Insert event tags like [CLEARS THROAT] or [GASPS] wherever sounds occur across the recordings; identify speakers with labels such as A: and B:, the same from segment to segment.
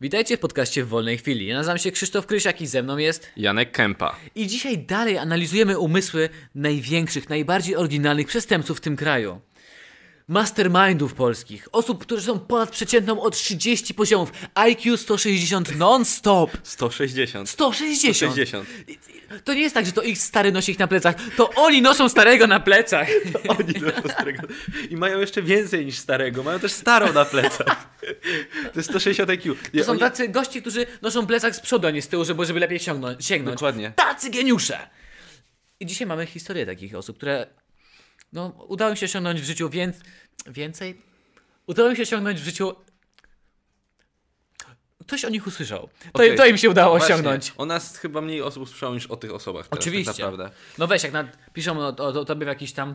A: Witajcie w podcaście w wolnej chwili. Ja nazywam się Krzysztof Krysiak i ze mną jest.
B: Janek Kępa.
A: I dzisiaj dalej analizujemy umysły największych, najbardziej oryginalnych przestępców w tym kraju. Mastermindów polskich, osób, które są ponad przeciętną o 30 poziomów, IQ 160 non-stop.
B: 160.
A: 160.
B: 160.
A: To nie jest tak, że to ich stary nosi ich na plecach, to oni noszą starego na plecach.
B: Oni do starego. I mają jeszcze więcej niż starego. Mają też starą na plecach. To jest 160 IQ. Nie,
A: To są
B: oni-
A: tacy goście, którzy noszą plecak z przodu, a nie z tyłu, żeby, żeby lepiej sięgnąć. sięgnąć.
B: Dokładnie.
A: Tacy geniusze! I dzisiaj mamy historię takich osób, które no, udało im się osiągnąć w życiu wię... więcej. Udało im się osiągnąć w życiu. Ktoś o nich usłyszał. To,
B: Okej.
A: to im się udało
B: Właśnie,
A: osiągnąć.
B: O nas chyba mniej osób usłyszało niż o tych osobach. Teraz,
A: Oczywiście.
B: Tak naprawdę.
A: No weź, jak nad... piszą o, o, o tobie w jakichś tam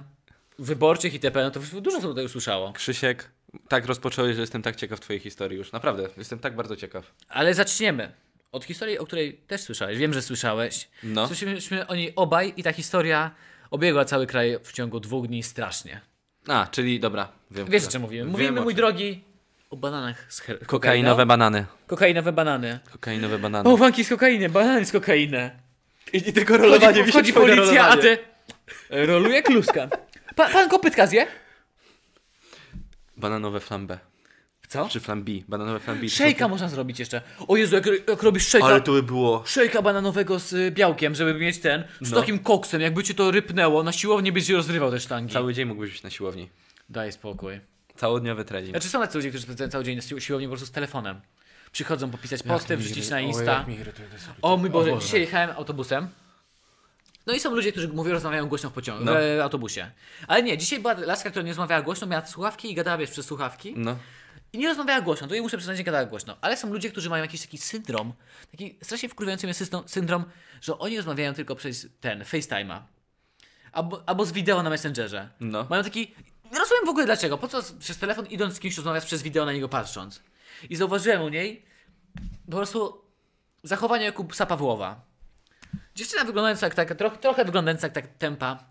A: wyborczych itp., no to dużo osób tego usłyszało.
B: Krzysiek, tak rozpocząłeś, że jestem tak ciekaw twojej historii już. Naprawdę, jestem tak bardzo ciekaw.
A: Ale zaczniemy od historii, o której też słyszałeś. Wiem, że słyszałeś.
B: No.
A: Słyszeliśmy o niej obaj i ta historia obiegła cały kraj w ciągu dwóch dni strasznie.
B: A, czyli dobra. Wiem,
A: Wiesz, o czym mówimy.
B: Wiem,
A: Mówimy,
B: o
A: mój
B: czym.
A: drogi, o bananach z her-
B: Kokainowe banany.
A: Kokainowe banany.
B: Kokainowe banany.
A: O, banki z kokainy, banany z kokainy.
B: I, i tylko
A: Wchodzi,
B: wiesz,
A: wchodzi
B: twoje
A: policja, a
B: rolowanie.
A: ty... Roluje kluska. Pa, pan kopytka zje?
B: Bananowe flambe.
A: Co?
B: Czy flambi. Bananowe flambi. To są
A: Szejka można zrobić jeszcze. O Jezu, jak, jak robisz szejka...
B: Ale to by było.
A: Szejka bananowego z y, białkiem, żeby mieć ten, z
B: No.
A: takim koksem, jakby cię to rypnęło, na siłowni byś rozrywał te sztangi.
B: Cały dzień mógłbyś być na siłowni.
A: Daj spokój.
B: Całodniowy trening.
A: Znaczy są tacy ludzie, którzy spędzają cały dzień na sił- siłowni po prostu z telefonem. Przychodzą popisać
B: Jak
A: posty,
B: mi
A: wrzucić
B: iry-
A: na
B: o,
A: Insta.
B: jak mi irytuje to sobie.
A: O mój Boże,
B: O Boże.
A: dzisiaj jechałem autobusem. No i są ludzie, którzy mówią, rozmawiają głośno w pociągu,
B: No.
A: w autobusie. Ale nie, dzisiaj była laska, która nie rozmawiała głośno, miała słuchawki i gadała wiesz, przez słuchawki.
B: No.
A: I nie rozmawiała głośno, to jej muszę przyznać, nie gadała głośno. Ale są ludzie, którzy mają jakiś taki syndrom, taki strasznie wkurwiający mnie system, syndrom, że oni rozmawiają tylko przez ten, FaceTime'a. Albo, albo z wideo na Messengerze.
B: No.
A: Mają taki... Nie rozumiem w ogóle dlaczego, po co z- przez telefon idąc z kimś rozmawiasz przez wideo na niego patrząc. I zauważyłem u niej po prostu zachowanie jak u psa Pawłowa. Dziewczyna wyglądająca jak taka, trochę, trochę wyglądająca jak tak tempa.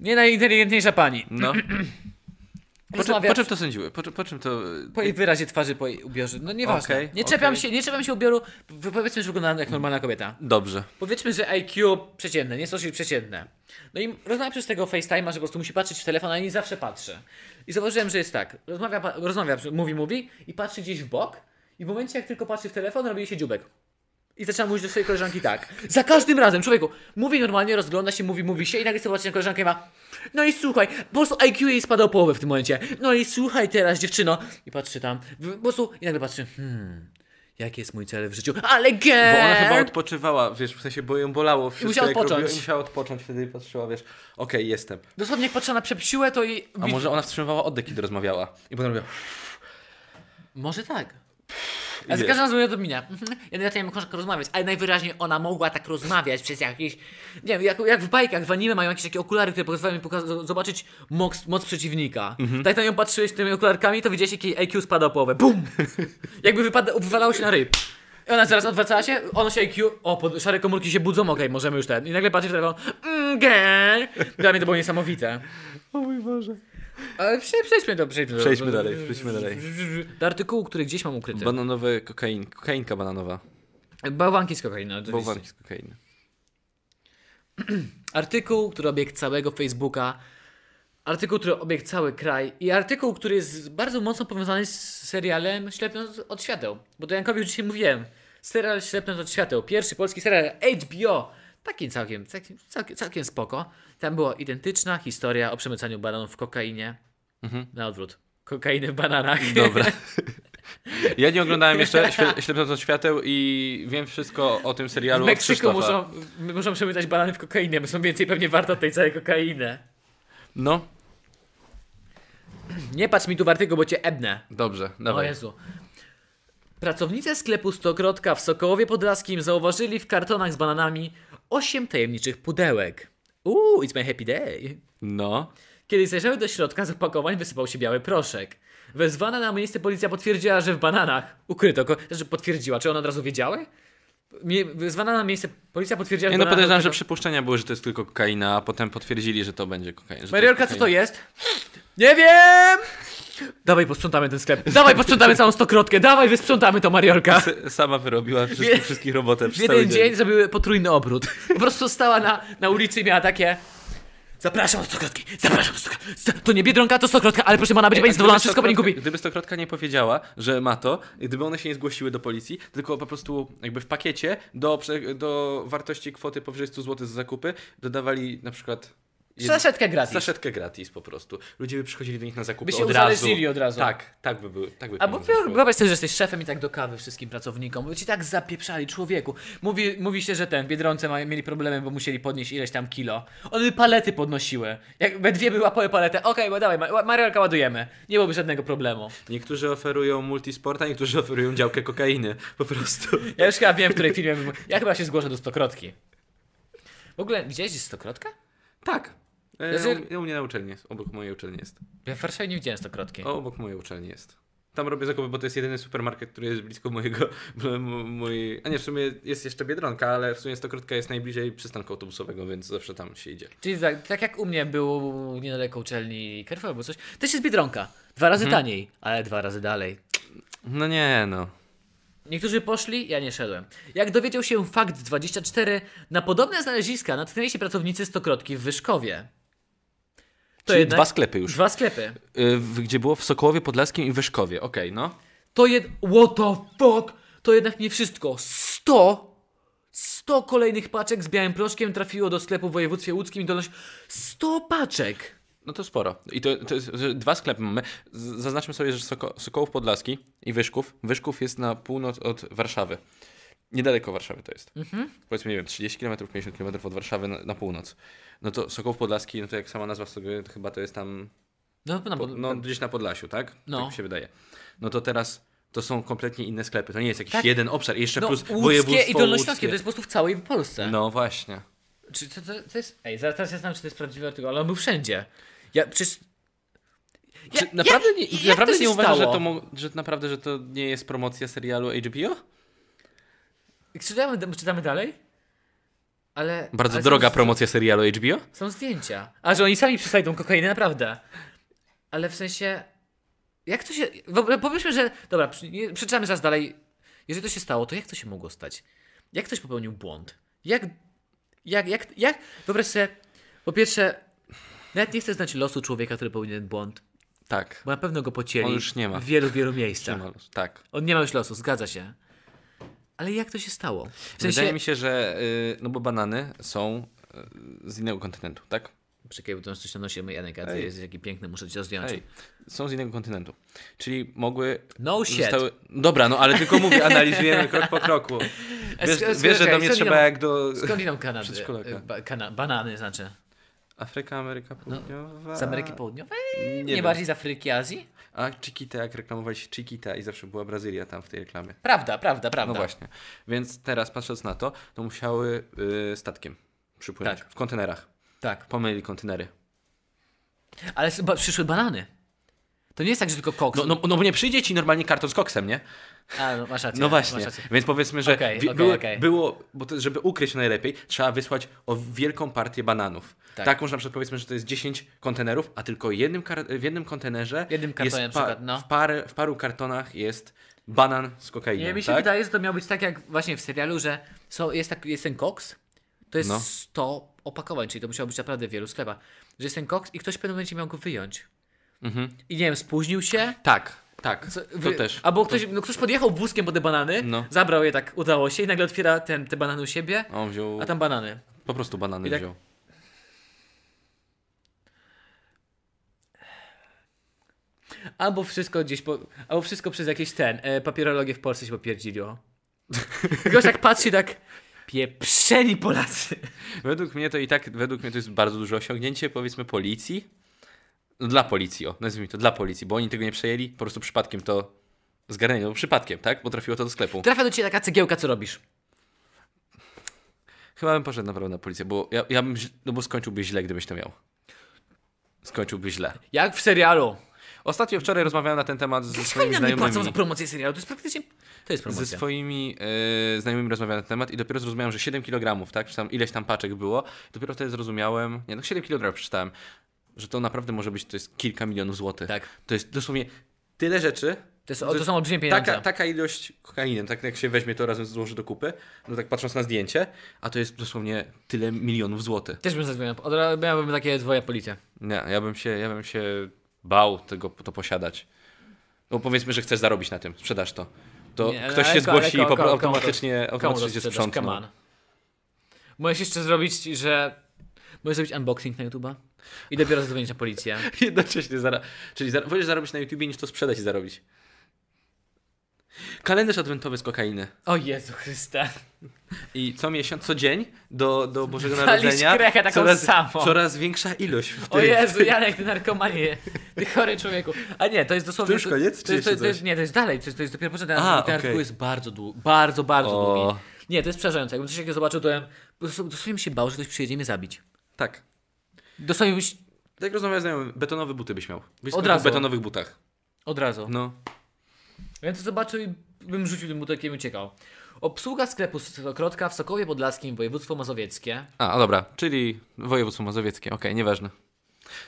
A: Nie najinteligentniejsza pani.
B: No. Po, czym-
A: Rozmawia
B: po czym to sądziły? Po, czym- po czym to. y,
A: po jej wyrazie twarzy, po jej ubiorze. No nieważne.
B: Okej,
A: nie, czepiam
B: okej.
A: się, nie czepiam się ubioru. Wy- Powiedzmy, że wygląda jak normalna kobieta.
B: Dobrze.
A: Powiedzmy, że IQ przeciętne, nie social przeciętne. No i rozmawia przez tego FaceTime'a, że po prostu musi patrzeć w telefon, a nie zawsze patrzy. I zauważyłem, że jest tak. Rozmawia, pa- rozmawia mówi, mówi i patrzy gdzieś w bok i w momencie, jak tylko patrzy w telefon, robi jej się dziubek. I zaczyna mówić do swojej koleżanki tak. Za każdym razem, człowieku, mówi normalnie, rozgląda się, mówi, mówi się i nagle chce zobaczyć na koleżankę i ma no i słuchaj, po prostu IQ jej spada o połowę w tym momencie. No i słuchaj teraz, dziewczyno. I patrzy tam, w- po prostu, i nagle patrzy, hmm, jaki jest mój cel w życiu? Ale
B: Bo
A: gę!
B: ona chyba odpoczywała, wiesz, w sensie, bo ją bolało wszystko.
A: Eee. musiała
B: jak
A: odpocząć.
B: robiła, i musiała odpocząć, wtedy patrzyła, wiesz, okej, jestem.
A: Dosłownie jak patrzę na przepsiłę, to jej...
B: A może ona wstrzymywała oddech, kiedy rozmawiała. I potem robiła.
A: Może tak. A za
B: wiesz.
A: każdym razem [LAUGHS] ja to minia. Ja na tym mogę tak rozmawiać, ale najwyraźniej ona mogła tak rozmawiać przez jakieś... Nie wiem, jak, jak w bajkach, w anime mają jakieś takie okulary, które pozwalają mi poka- zobaczyć moc, moc przeciwnika. Tak jak na nią patrzyłeś tymi okularkami, to widziałeś, jak jej IQ spada o połowę. BUM! Jakby wypada, wywalało się na ryb. I ona zaraz odwracała się, ono się IQ, o, pod, szare komórki się budzą, okej, możemy już ten. I nagle patrzy w telefon, mm, gej. Dla mnie to było niesamowite.
B: O mój Boże.
A: Ale prze- przejdźmy do... Przejdźmy, do-
B: Przejdźmy
A: do-
B: dalej, przejdźmy dalej.
A: Do artykułu, który gdzieś mam ukryty.
B: Bananowe kokain, kokainka bananowa.
A: Bałwanki z kokainą. oczywiście.
B: Bałwanki z kokainy.
A: Artykuł, który obiegł całego Facebooka. Artykuł, który obiegł cały kraj. I artykuł, który jest bardzo mocno powiązany z serialem Ślepnąc od świateł. Bo to Jankowi już dzisiaj mówiłem. Serial Ślepnąc od świateł. Pierwszy polski serial HBO. Taki całkiem, całkiem, całkiem, całkiem spoko. Tam była identyczna historia o przemycaniu bananów w kokainie. Na odwrót. Kokainy w bananach.
B: Mhm. Dobra.
A: [LAUGHS]
B: Ja nie oglądałem jeszcze świe- Ślepnąc od świateł i wiem wszystko o tym serialu
A: W
B: od
A: Meksyku
B: Krzysztofa.
A: muszą, muszą przemycać banany w kokainę, bo są więcej pewnie warte od tej całej kokainy.
B: No,
A: Nie patrz mi tu w artykuł, bo cię ebnę.
B: dobrze,
A: O
B: dawaj.
A: Jezu. Pracownice sklepu Stokrotka w Sokołowie Podlaskim zauważyli w kartonach z bananami 8 tajemniczych pudełek. Uuu, it's my happy day.
B: No.
A: Kiedy zajrzały do środka, z opakowań wysypał się biały proszek. Wezwana na miejsce policja potwierdziła, że w bananach ukryto go. Znaczy potwierdziła, czy one od razu wiedziały? Mie- Wezwana na miejsce policja potwierdziła, że
B: Nie no
A: w bananach
B: podejrzewam, że
A: ukryto-
B: przypuszczenia były, że to jest tylko kokaina, a potem potwierdzili, że to będzie kokaina. że to jest
A: Mariolka, co
B: kokaina.
A: to jest? Nie wiem! Dawaj posprzątamy ten sklep. Dawaj posprzątamy całą stokrotkę. Dawaj wysprzątamy to Mariolka.
B: S- Sama wyrobiła
A: Wie-
B: wszystkich, wszystkich robotę
A: W
B: przez cały
A: jeden
B: dzień.
A: dzień zrobiły potrójny obrót. Po prostu stała na, na ulicy i miała takie... Zapraszam do stokrotki, zapraszam do stokrotki. Za- To nie Biedronka, to stokrotka, ale proszę pana, będzie pani
B: A
A: zadowolona,
B: gdyby
A: wszystko pani
B: Stokrotka-
A: kupi.
B: Gdyby Stokrotka nie powiedziała, że ma to, gdyby one się nie zgłosiły do policji, tylko po prostu jakby w pakiecie do, prze- do wartości kwoty powyżej 100 zł z zakupy dodawali na przykład... jed-
A: Saszetkę gratis.
B: Saszetkę gratis po prostu. Ludzie by przychodzili do nich na zakupy
A: By się
B: od razu.
A: uzależnili od razu.
B: Tak, tak by były. Tak by
A: Albo
B: pieniądze szły.
A: wyobraź sobie, że jesteś szefem i tak do kawy wszystkim pracownikom, bo ci tak zapieprzali człowieku. Mówi, mówi się, że ten, Biedronce ma, mieli problemy, bo musieli podnieść ileś tam kilo. One palety podnosiły. Jak we dwie by łapały paletę, okej, bo dawaj, ma- Mariolka ładujemy. Nie byłoby żadnego problemu.
B: Niektórzy oferują multisporta, niektórzy oferują działkę kokainy. Po prostu.
A: [LAUGHS] Ja już chyba wiem, w której firmie bym... Ja chyba się zgłoszę do Stokrotki. W ogóle, widziałeś gdzieś Stokrotka?
B: Tak. E,
A: Znaczy-
B: u, u mnie na uczelni jest. Obok mojej uczelni jest.
A: Ja w Warszawie nie widziałem Stokrotki.
B: O, obok mojej uczelni jest. Tam robię zakupy, bo to jest jedyny supermarket, który jest blisko mojego. [LAUGHS] m- Mojej... A nie, w sumie jest jeszcze biedronka, ale w sumie stokrotka jest najbliżej przystanku autobusowego, więc zawsze tam się idzie.
A: Czyli tak, tak jak u mnie był niedaleko uczelni Kerfa albo coś, też jest Biedronka. Dwa razy taniej, ale dwa razy dalej.
B: No nie, no.
A: Niektórzy poszli, ja nie szedłem. Jak dowiedział się fakt 24, na podobne znaleziska natknęli się pracownicy Stokrotki w Wyszkowie. To
B: Czyli
A: jednak-
B: dwa sklepy już.
A: Dwa sklepy.
B: Y, w- gdzie było w Sokołowie Podlaskim i Wyszkowie. Okej, no.
A: To jed... What the fuck? To jednak nie wszystko. 100 100 kolejnych paczek z białym proszkiem trafiło do sklepu w województwie łódzkim i dolność 100 paczek.
B: No to sporo. I to, to jest, że dwa sklepy mamy. Z- Zaznaczmy sobie, że Soko, Sokołów Podlaski i Wyszków. Wyszków jest na północ od Warszawy. Niedaleko Warszawy to jest.
A: Mhm.
B: Powiedzmy, nie wiem, 30 km, 50 km od Warszawy na, na północ. No to Sokołów Podlaski, no to jak sama nazwa sobie, to chyba to jest tam
A: No, na
B: po, no, gdzieś na Podlasiu, tak?
A: No.
B: Tak mi się wydaje. No to teraz to są kompletnie inne sklepy. To nie jest jakiś
A: Tak.
B: jeden obszar. I jeszcze
A: no,
B: plus
A: łódzkie
B: województwo
A: i dolnośląskie, to
B: łódzkie.
A: jest po prostu w całej Polsce.
B: No właśnie.
A: Czy to, to, to jest... Ej, zaraz teraz ja znam, czy to jest prawdziwy artykuł, ale on był wszędzie. Ja przecież... Ja-
B: Czy naprawdę
A: jak-
B: nie,
A: jak
B: naprawdę
A: to się
B: nie uważasz, że
A: stało?
B: to, mo- że naprawdę, że to nie jest promocja serialu HBO?
A: Czytamy, czytamy dalej? Ale.
B: Bardzo
A: ale
B: droga
A: są,
B: promocja serialu HBO?
A: Są zdjęcia. A że oni sami przystali tą kokainę, naprawdę. Ale w sensie. Jak to się. w ogóle Pomyślmy, że. Dobra, przy- nie- przeczytamy zaraz dalej. Jeżeli to się stało, to jak to się mogło stać? Jak ktoś popełnił błąd? Jak. Jak. Jak. jak? Wyobraź sobie. Po pierwsze, nawet nie chcę znać losu człowieka, który popełnił ten błąd,
B: Tak.
A: bo na pewno go pocięli.
B: On już nie ma.
A: W wielu, wielu miejscach.
B: Malus, tak.
A: On nie ma już losu, zgadza się. Ale jak to się stało? W sensie.
B: Wydaje mi się, że y, no bo banany są y, z innego kontynentu, tak?
A: Czekaj, bo to coś na nosie, mój Janek, a ty
B: Ej.
A: jesteś taki piękny, muszę ci to zdjąć.
B: Ej, są z innego kontynentu. Czyli mogły
A: No shit.
B: zostały... Dobra, no ale tylko mówię, analizujemy krok po
A: [LAUGHS]
B: kroku. Wiesz,
A: sk-
B: wiesz że do
A: czekaj,
B: mnie
A: co
B: trzeba
A: mi tam-
B: jak do...
A: Skąd idą Kanady?
B: Przedszkolaka.
A: E, Ba kana banany znaczy.
B: Afryka, Ameryka Południowa...
A: No, Z Ameryki Południowej?
B: Nie,
A: Nie,
B: wiem.
A: bardziej z Afryki, Azji?
B: A Chiquita, jak reklamowali się Chiquita i zawsze była Brazylia tam w tej reklamie.
A: Prawda, prawda, prawda.
B: No właśnie. Więc teraz patrząc na to, to musiały y, statkiem przypłynąć.
A: Tak.
B: W kontenerach.
A: Tak.
B: Pomylili kontenery.
A: Ale s- ba przyszły banany. To nie jest tak, że tylko koks.
B: No, no, no bo nie przyjdzie ci normalnie karton z koksem, nie?
A: A, no masz rację.
B: No właśnie,
A: Masz rację.
B: więc powiedzmy, że
A: Okej,
B: wi-
A: okej,
B: były,
A: okej.
B: było, bo to, żeby ukryć najlepiej, trzeba wysłać o wielką partię bananów.
A: Tak.
B: Tak, można na przykład powiedzmy, że to jest 10 kontenerów, a tylko jednym kar- w jednym kontenerze
A: Jednym kartonem
B: jest
A: na przykład, no.
B: w, parę, w paru kartonach jest banan z kokainą,
A: Nie, mi się
B: tak?
A: wydaje, że to miało być tak jak właśnie w serialu, że są, jest, tak, jest ten koks, to jest
B: No.
A: 100 opakowań, czyli to musiało być naprawdę w wielu sklepach. Że jest ten koks i ktoś w pewnym momencie miał go wyjąć. I nie wiem, spóźnił się,
B: Mhm. Tak, tak,
A: Co-
B: to
A: wy-
B: też.
A: Albo ktoś, no ktoś podjechał wózkiem po te banany,
B: No.
A: zabrał je tak, udało się i nagle otwiera ten, te banany u siebie,
B: On wziął,
A: a tam banany.
B: po prostu banany
A: I tak-
B: wziął.
A: Albo wszystko gdzieś, po, albo wszystko przez jakieś ten, e, papierologię w Polsce się [LAUGHS] popierdziliło. Ktoś tak patrzy tak, pieprzeni Polacy.
B: Według mnie to i tak, według mnie to jest bardzo duże osiągnięcie, powiedzmy, policji. No, dla policji, o, nazwijmy to, dla policji, bo oni tego nie przejęli, po prostu przypadkiem to zgarnęli, no przypadkiem, tak? Bo trafiło to do sklepu.
A: Trafia do ciebie taka cegiełka, co robisz?
B: Chyba bym poszedł naprawdę na policję, bo ja, ja bym, źle- no bo skończyłby źle, gdybyś to miał. Skończyłby źle.
A: Jak w serialu.
B: Ostatnio wczoraj rozmawiałem na ten temat ze swoimi
A: Fajna mi płacą za
B: znajomymi.
A: promocję serialu, to jest praktycznie, to jest
B: Ze
A: promocja.
B: swoimi e, znajomymi rozmawiałem na ten temat i dopiero zrozumiałem, że 7 kg, tak? Czy tam ileś tam paczek było. Dopiero wtedy zrozumiałem, nie no 7 kg przeczytałem, że to naprawdę może być to jest kilka milionów złotych.
A: Tak.
B: To jest dosłownie tyle rzeczy.
A: To, jest, tak. to są olbrzymie pieniądze.
B: Taka, taka ilość kokainy, tak jak się weźmie to razem złoży do kupy, no tak patrząc na zdjęcie, a to jest dosłownie tyle milionów złotych.
A: Też bym zadzwonił. Od razu miałbym takie dwoje policje.
B: Nie, ja bym się, ja bym się bał tego to posiadać. No powiedzmy, że chcesz zarobić na tym, sprzedasz to. To
A: Nie,
B: ktoś
A: ale
B: się
A: ko-
B: zgłosi
A: ko-
B: i po,
A: ko- komu to-
B: automatycznie,
A: Komu to
B: automatycznie cię
A: sprzedasz? Come
B: sprzątną.
A: on. Możesz jeszcze zrobić, że... Możesz zrobić unboxing na YouTube'a i dopiero zadzwonić na policję.
B: [LAUGHS] Jednocześnie zara- czyli zar- wolisz zarobić na YouTubie niż to sprzedać i zarobić. Kalendarz adwentowy z kokainy.
A: O Jezu Chryste.
B: I co miesiąc, co dzień do, do Bożego
A: Walisz
B: Narodzenia
A: krechę taką
B: coraz,
A: samą.
B: coraz większa ilość. W
A: O
B: tym.
A: Jezu, Janek, ty narkomanie. Ty chory człowieku. A nie, to jest dosłownie...
B: To już koniec,
A: To
B: czy
A: jest, to,
B: jeszcze
A: to jest,
B: coś?
A: nie, to jest dalej, to jest, to jest dopiero początek.
B: A,
A: ten
B: okej.
A: artykuł jest bardzo długi, bardzo, bardzo
B: O.
A: długi. Nie, to jest przerażające. Jakbym coś takiego zobaczył, to ja po prostu- dosłownie bym się bał, że ktoś przyjedzie mnie zabić.
B: Tak.
A: Dosłownie byś
B: Tak jak rozmawiałem z znajomym, betonowe buty byś miał. Byś
A: Od
B: Od
A: razu.
B: W betonowych butach.
A: od razu.
B: No.
A: Ja to zobaczył i bym rzucił tym butelkiem i uciekał. Obsługa sklepu Stokrotka w Sokowie Podlaskim, województwo mazowieckie.
B: A, o dobra, czyli województwo mazowieckie, okej, nieważne.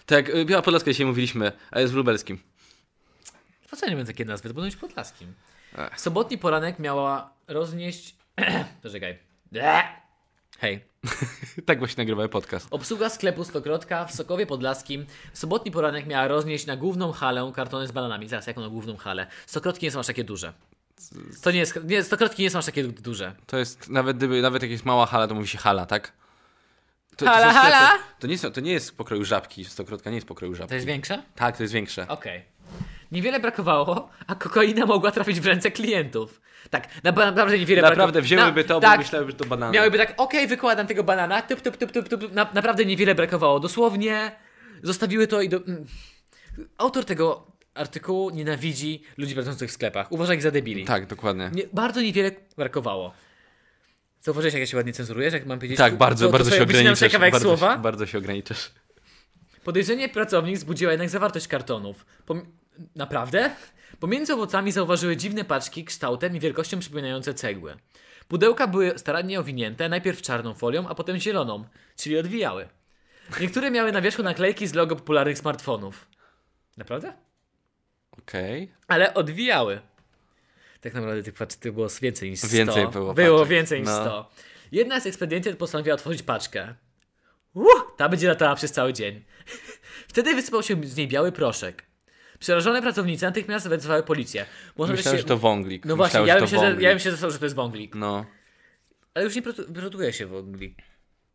B: Tak, jak y, Biała Podlaska dzisiaj mówiliśmy, a jest w lubelskim.
A: Po co nie będę takie nazwy? To będą być Podlaskim.
B: Ech.
A: Sobotni poranek miała roznieść... [CLEARS THROAT] Poczekaj. Eee. Hej.
B: [LAUGHS] tak właśnie nagrywałem podcast.
A: Obsługa sklepu Stokrotka w Sokowie Podlaskim w sobotni poranek miała roznieść na główną halę kartony z bananami. Zaraz, jaką na główną halę? Stokrotki nie są aż takie duże. To nie jest... Nie, stokrotki nie są aż takie du- duże.
B: To jest, nawet gdyby, nawet jak jest mała hala, to mówi się hala, tak? To,
A: Hala,
B: są sklepy-
A: hala!
B: To nie, są, to nie jest pokroju żabki, stokrotka nie jest pokroju żabki.
A: To jest większe?
B: Tak, to jest większe.
A: Okej. Niewiele brakowało, a kokaina mogła trafić w ręce klientów. Tak, na, naprawdę niewiele
B: Naprawdę
A: brakowało.
B: wzięłyby to, bo
A: tak,
B: myślałyby, że to banany.
A: Miałyby tak, okej, wykładam tego banana, tup, tup, tup, tup, tup, tup. Na, naprawdę niewiele brakowało. Dosłownie zostawiły to i do... mm. Autor tego artykułu nienawidzi ludzi pracujących w sklepach. Uważa ich za debili.
B: Tak, dokładnie.
A: Nie, bardzo niewiele brakowało. Zauważyłeś, jak ja się ładnie cenzurujesz, jak mam powiedzieć?
B: Tak,
A: ku-
B: bardzo,
A: to- to
B: bardzo
A: sobie
B: się
A: wycinam sobie
B: ograniczasz.
A: kawałek
B: Bardzo,
A: słowa.
B: Się, bardzo się ograniczasz.
A: Podejrzenie pracownik wzbudziła jednak zawartość kartonów. Pom- Naprawdę? Pomiędzy owocami zauważyły dziwne paczki kształtem i wielkością przypominające cegły. Pudełka były starannie owinięte, najpierw czarną folią, a potem zieloną, czyli odwijały. Niektóre miały na wierzchu naklejki z logo popularnych smartfonów. Naprawdę?
B: Okej.
A: Ale odwijały. Tak naprawdę tych paczek było więcej niż 100.
B: Więcej było
A: Było
B: paczek,
A: więcej niż
B: no.
A: 100. Jedna z ekspedientów postanowiła otworzyć paczkę. Uh, ta będzie latała przez cały dzień. [LAUGHS] Wtedy wysypał się z niej biały proszek. Przerażone pracownice natychmiast wezwały policję. Może
B: Myślałem, że to wąglik.
A: No właśnie,
B: Myślałem,
A: ja
B: że
A: bym,
B: to
A: się, za-
B: wąglik.
A: ja bym się zastanawiał, że to jest wąglik.
B: No.
A: Ale już nie produ- produkuje się wąglik.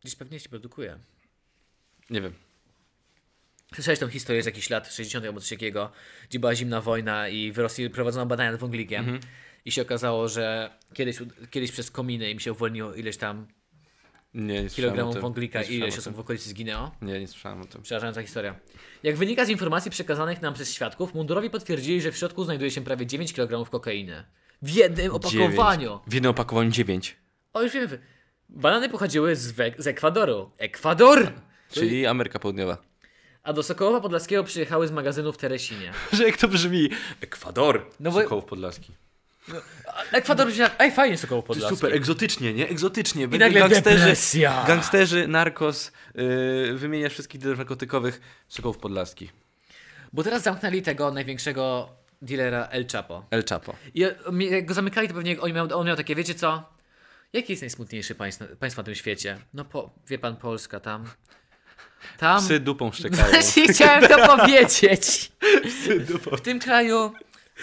A: Gdzieś pewnie się produkuje.
B: Nie wiem.
A: Słyszałeś tą historię z jakichś lat 60. albo coś takiego, gdzie była zimna wojna i w Rosji prowadzono badania nad wąglikiem.
B: Mhm.
A: I się okazało, że kiedyś, kiedyś przez kominy im się uwolniło ileś tam
B: Nie, nie słyszałem o
A: kilogramów
B: tym.
A: wąglika
B: Nie
A: i
B: słyszałem
A: ileś
B: o tym.
A: osób w okolicy zginęło.
B: Nie, nie słyszałem o tym.
A: Przerażająca historia. Jak wynika z informacji przekazanych nam przez świadków, mundurowi potwierdzili, że w środku znajduje się prawie 9 kg kokainy. W jednym opakowaniu!
B: Dziewięć. W jednym opakowaniu 9.
A: O, już wiemy. Banany pochodziły z, Wek- z Ekwadoru. Ekwador!
B: Czyli Ameryka Południowa. [LAUGHS]
A: A do Sokołowa Podlaskiego przyjechały z magazynu w Teresinie.
B: Że jak to brzmi? Ekwador.
A: No
B: No
A: bo-
B: Sokołów Podlaski.
A: Ekwador brzmi jak... Ej, fajnie Sokoło
B: To
A: Podlaskie.
B: jest super, egzotycznie, nie? Egzotycznie.
A: I
B: Będą
A: nagle
B: gangsterzy,
A: depresja.
B: gangsterzy, narkos, yy, wymieniasz wszystkich dealerów narkotykowych. Sokołów Podlaski.
A: Bo teraz zamknęli tego największego dealera El Chapo.
B: El Chapo.
A: I on- jak go zamykali, to pewnie on miał, on miał takie, wiecie co? Jakie jest najsmutniejsze państwo, państwo na tym świecie? No po, wie pan, Polska tam. Tam. [LAUGHS]
B: Psy dupą szczekają.
A: Właśnie chciałem to powiedzieć.
B: Psy dupą.
A: W tym kraju,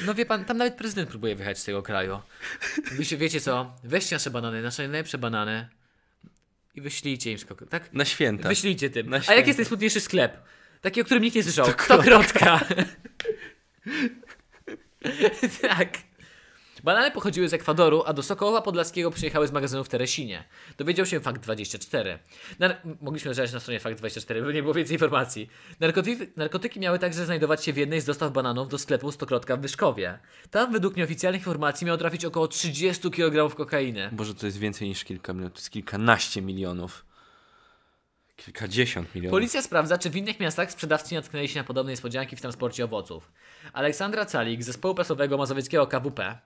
A: no wie pan, tam nawet prezydent próbuje wyjechać z tego kraju. Wy się wiecie co? Weźcie nasze banany, nasze najlepsze banany i wyślijcie im skok, tak?
B: Na święta.
A: Wyślijcie tym.
B: Na
A: A jaki
B: święta.
A: jest najsmutniejszy sklep? Taki, o którym nikt nie słyszał. Stokrotka. tak. Banany pochodziły z Ekwadoru, a do Sokoła Podlaskiego przyjechały z magazynu w Teresinie. Dowiedział się Fakt 24. Nar- mogliśmy znaleźć na stronie Fakt 24, bo nie było więcej informacji. Narkoty- narkotyki miały także znajdować się w jednej z dostaw bananów do sklepu Stokrotka w Wyszkowie. Tam według nieoficjalnych informacji miało trafić około 30 kg kokainy.
B: Boże, to jest więcej niż kilka milionów. To jest kilkanaście milionów. Kilkadziesiąt milionów.
A: Policja sprawdza, czy w innych miastach sprzedawcy nie natknęli się na podobne niespodzianki w transporcie owoców. Aleksandra Calik z zespołu prasowego mazowieckiego KWP.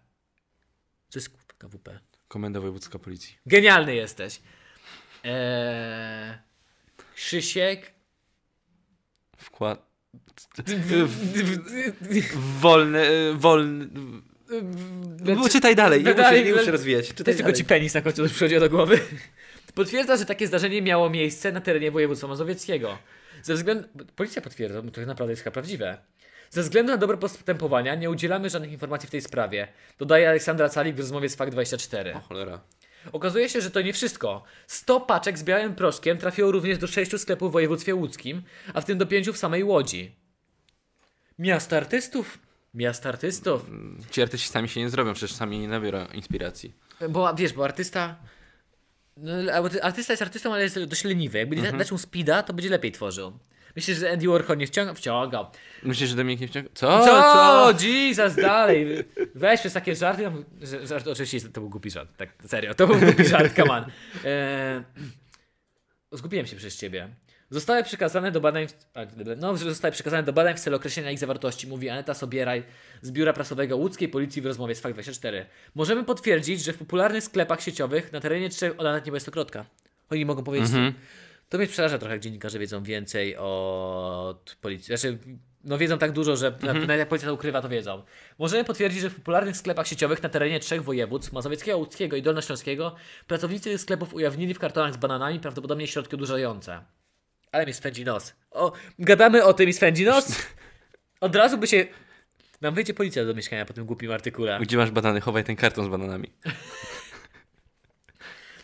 A: Co jest kurwa KWP?
B: Komenda Wojewódzka Policji.
A: Genialny jesteś. Eee, Krzysiek
B: Wkład. Wolny, e, wolny.
A: Znaczy-
B: Bo czytaj dalej, nie
A: Dalej,
B: muszę, nie muszę
A: le-
B: rozwijać.
A: To
B: Czytaj
A: jest tylko ci
B: dalej.
A: penis na końcu przychodzi do głowy. Potwierdza, że takie zdarzenie miało miejsce na terenie województwa mazowieckiego. Ze względu... Policja potwierdza, bo to naprawdę jest chyba prawdziwe. Ze względu na dobre postępowania nie udzielamy żadnych informacji w tej sprawie, dodaje Aleksandra Calik w rozmowie z Fakt24.
B: O cholera.
A: Okazuje się, że to nie wszystko. 100 paczek z białym proszkiem trafiło również do 6 sklepów w województwie łódzkim, a w tym do 5 w samej Łodzi. Miasto artystów? Miasto artystów.
B: Ci artyści sami się nie zrobią, przecież sami nie nabiorą inspiracji.
A: Bo wiesz, bo artysta. No, ale artysta jest artystą, ale jest dość leniwy. Jakby mhm. dać mu speeda, to będzie lepiej tworzył. Myślisz, że Andy Warhol nie wciąga? Wciągał.
B: Myślisz, że Dominik nie wciąga?
A: Co?
B: Co?
A: co? Jesus, dalej. Weź przez takie żarty. tam- że- żart, oczywiście to był głupi żart. Tak, serio, to był głupi żart, come on. E, zgubiłem się przez ciebie. Zostały przekazane do badań. W, a, dobra, no, że zostały przekazane do badań w celu określenia ich zawartości, mówi Aneta Sobieraj z biura prasowego łódzkiej policji w rozmowie z Fakt24. Możemy potwierdzić, że w popularnych sklepach sieciowych na terenie trzech. Ona nawet nie ma stokrotka. Oni mogą powiedzieć.
B: Mhm.
A: To mnie przeraża trochę, jak dziennikarze wiedzą więcej od policji. Znaczy, no wiedzą tak dużo, że na- nawet jak policja to ukrywa, to wiedzą. Możemy potwierdzić, że w popularnych sklepach sieciowych na terenie trzech województw, mazowieckiego, łódzkiego i dolnośląskiego, pracownicy tych sklepów ujawnili w kartonach z bananami prawdopodobnie środki odurzające. Ale mi swędzi nos. O, gadamy o tym i swędzi nos? Od razu by się... Nam wyjdzie policja do mieszkania po tym głupim artykule.
B: Gdzie masz banany? Chowaj ten karton z bananami.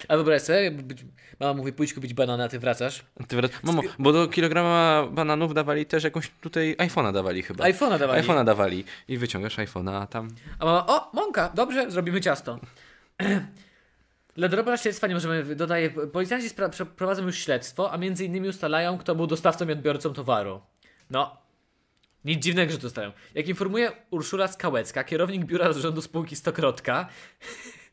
A: A wyobraź sobie, być- mama mówi, pójdź kupić banana, a ty wracasz.
B: Ty wrac- Mamo, bo do kilograma bananów dawali też jakąś tutaj iPhone'a dawali chyba.
A: iPhone'a dawali.
B: iPhone'a dawali. I wyciągasz iPhone'a, a tam...
A: A mama, o, mąka, dobrze, zrobimy ciasto. [CLEARS THROAT] Dla drobna śledztwa nie możemy, wy- dodaje, policjanci spra- przeprowadzą już śledztwo, a między innymi ustalają, kto był dostawcą i odbiorcą towaru. No, nic dziwnego, że to stają. Jak informuje Urszula Skałecka, kierownik biura zarządu spółki Stokrotka, [LAUGHS]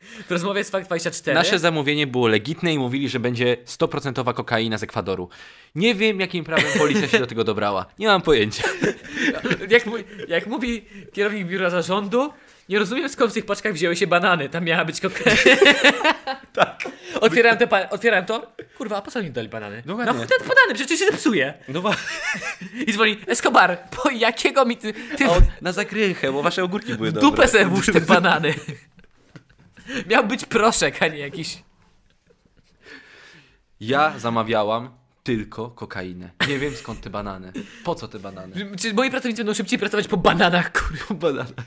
A: w rozmowie z Fakt24...
B: Nasze zamówienie było legitne i mówili, że będzie 100% kokaina z Ekwadoru. Nie wiem, jakim prawem policja się do tego dobrała. Nie mam pojęcia.
A: jak, mówi- jak mówi kierownik biura zarządu, nie rozumiem skąd w tych paczkach wzięły się banany. Tam miała być kokaina. [LAUGHS] tak. Otwierałem, te pa- otwierałem to. Kurwa, a po co mi dali banany?
B: Dokładnie.
A: No chuj te banany, przecież się zepsuje.
B: No [LAUGHS]
A: I dzwoni, Escobar, po jakiego mi ty... ty
B: Na zakrychę, bo wasze ogórki były
A: w
B: dobre.
A: dupę sobie włóż te banany. [LAUGHS] Miał być proszek, a nie jakiś...
B: Ja zamawiałam tylko kokainę. Nie wiem skąd te banany. Po co te banany?
A: Czy moi pracownicy będą szybciej pracować po bananach, kurwa.
B: Bananach.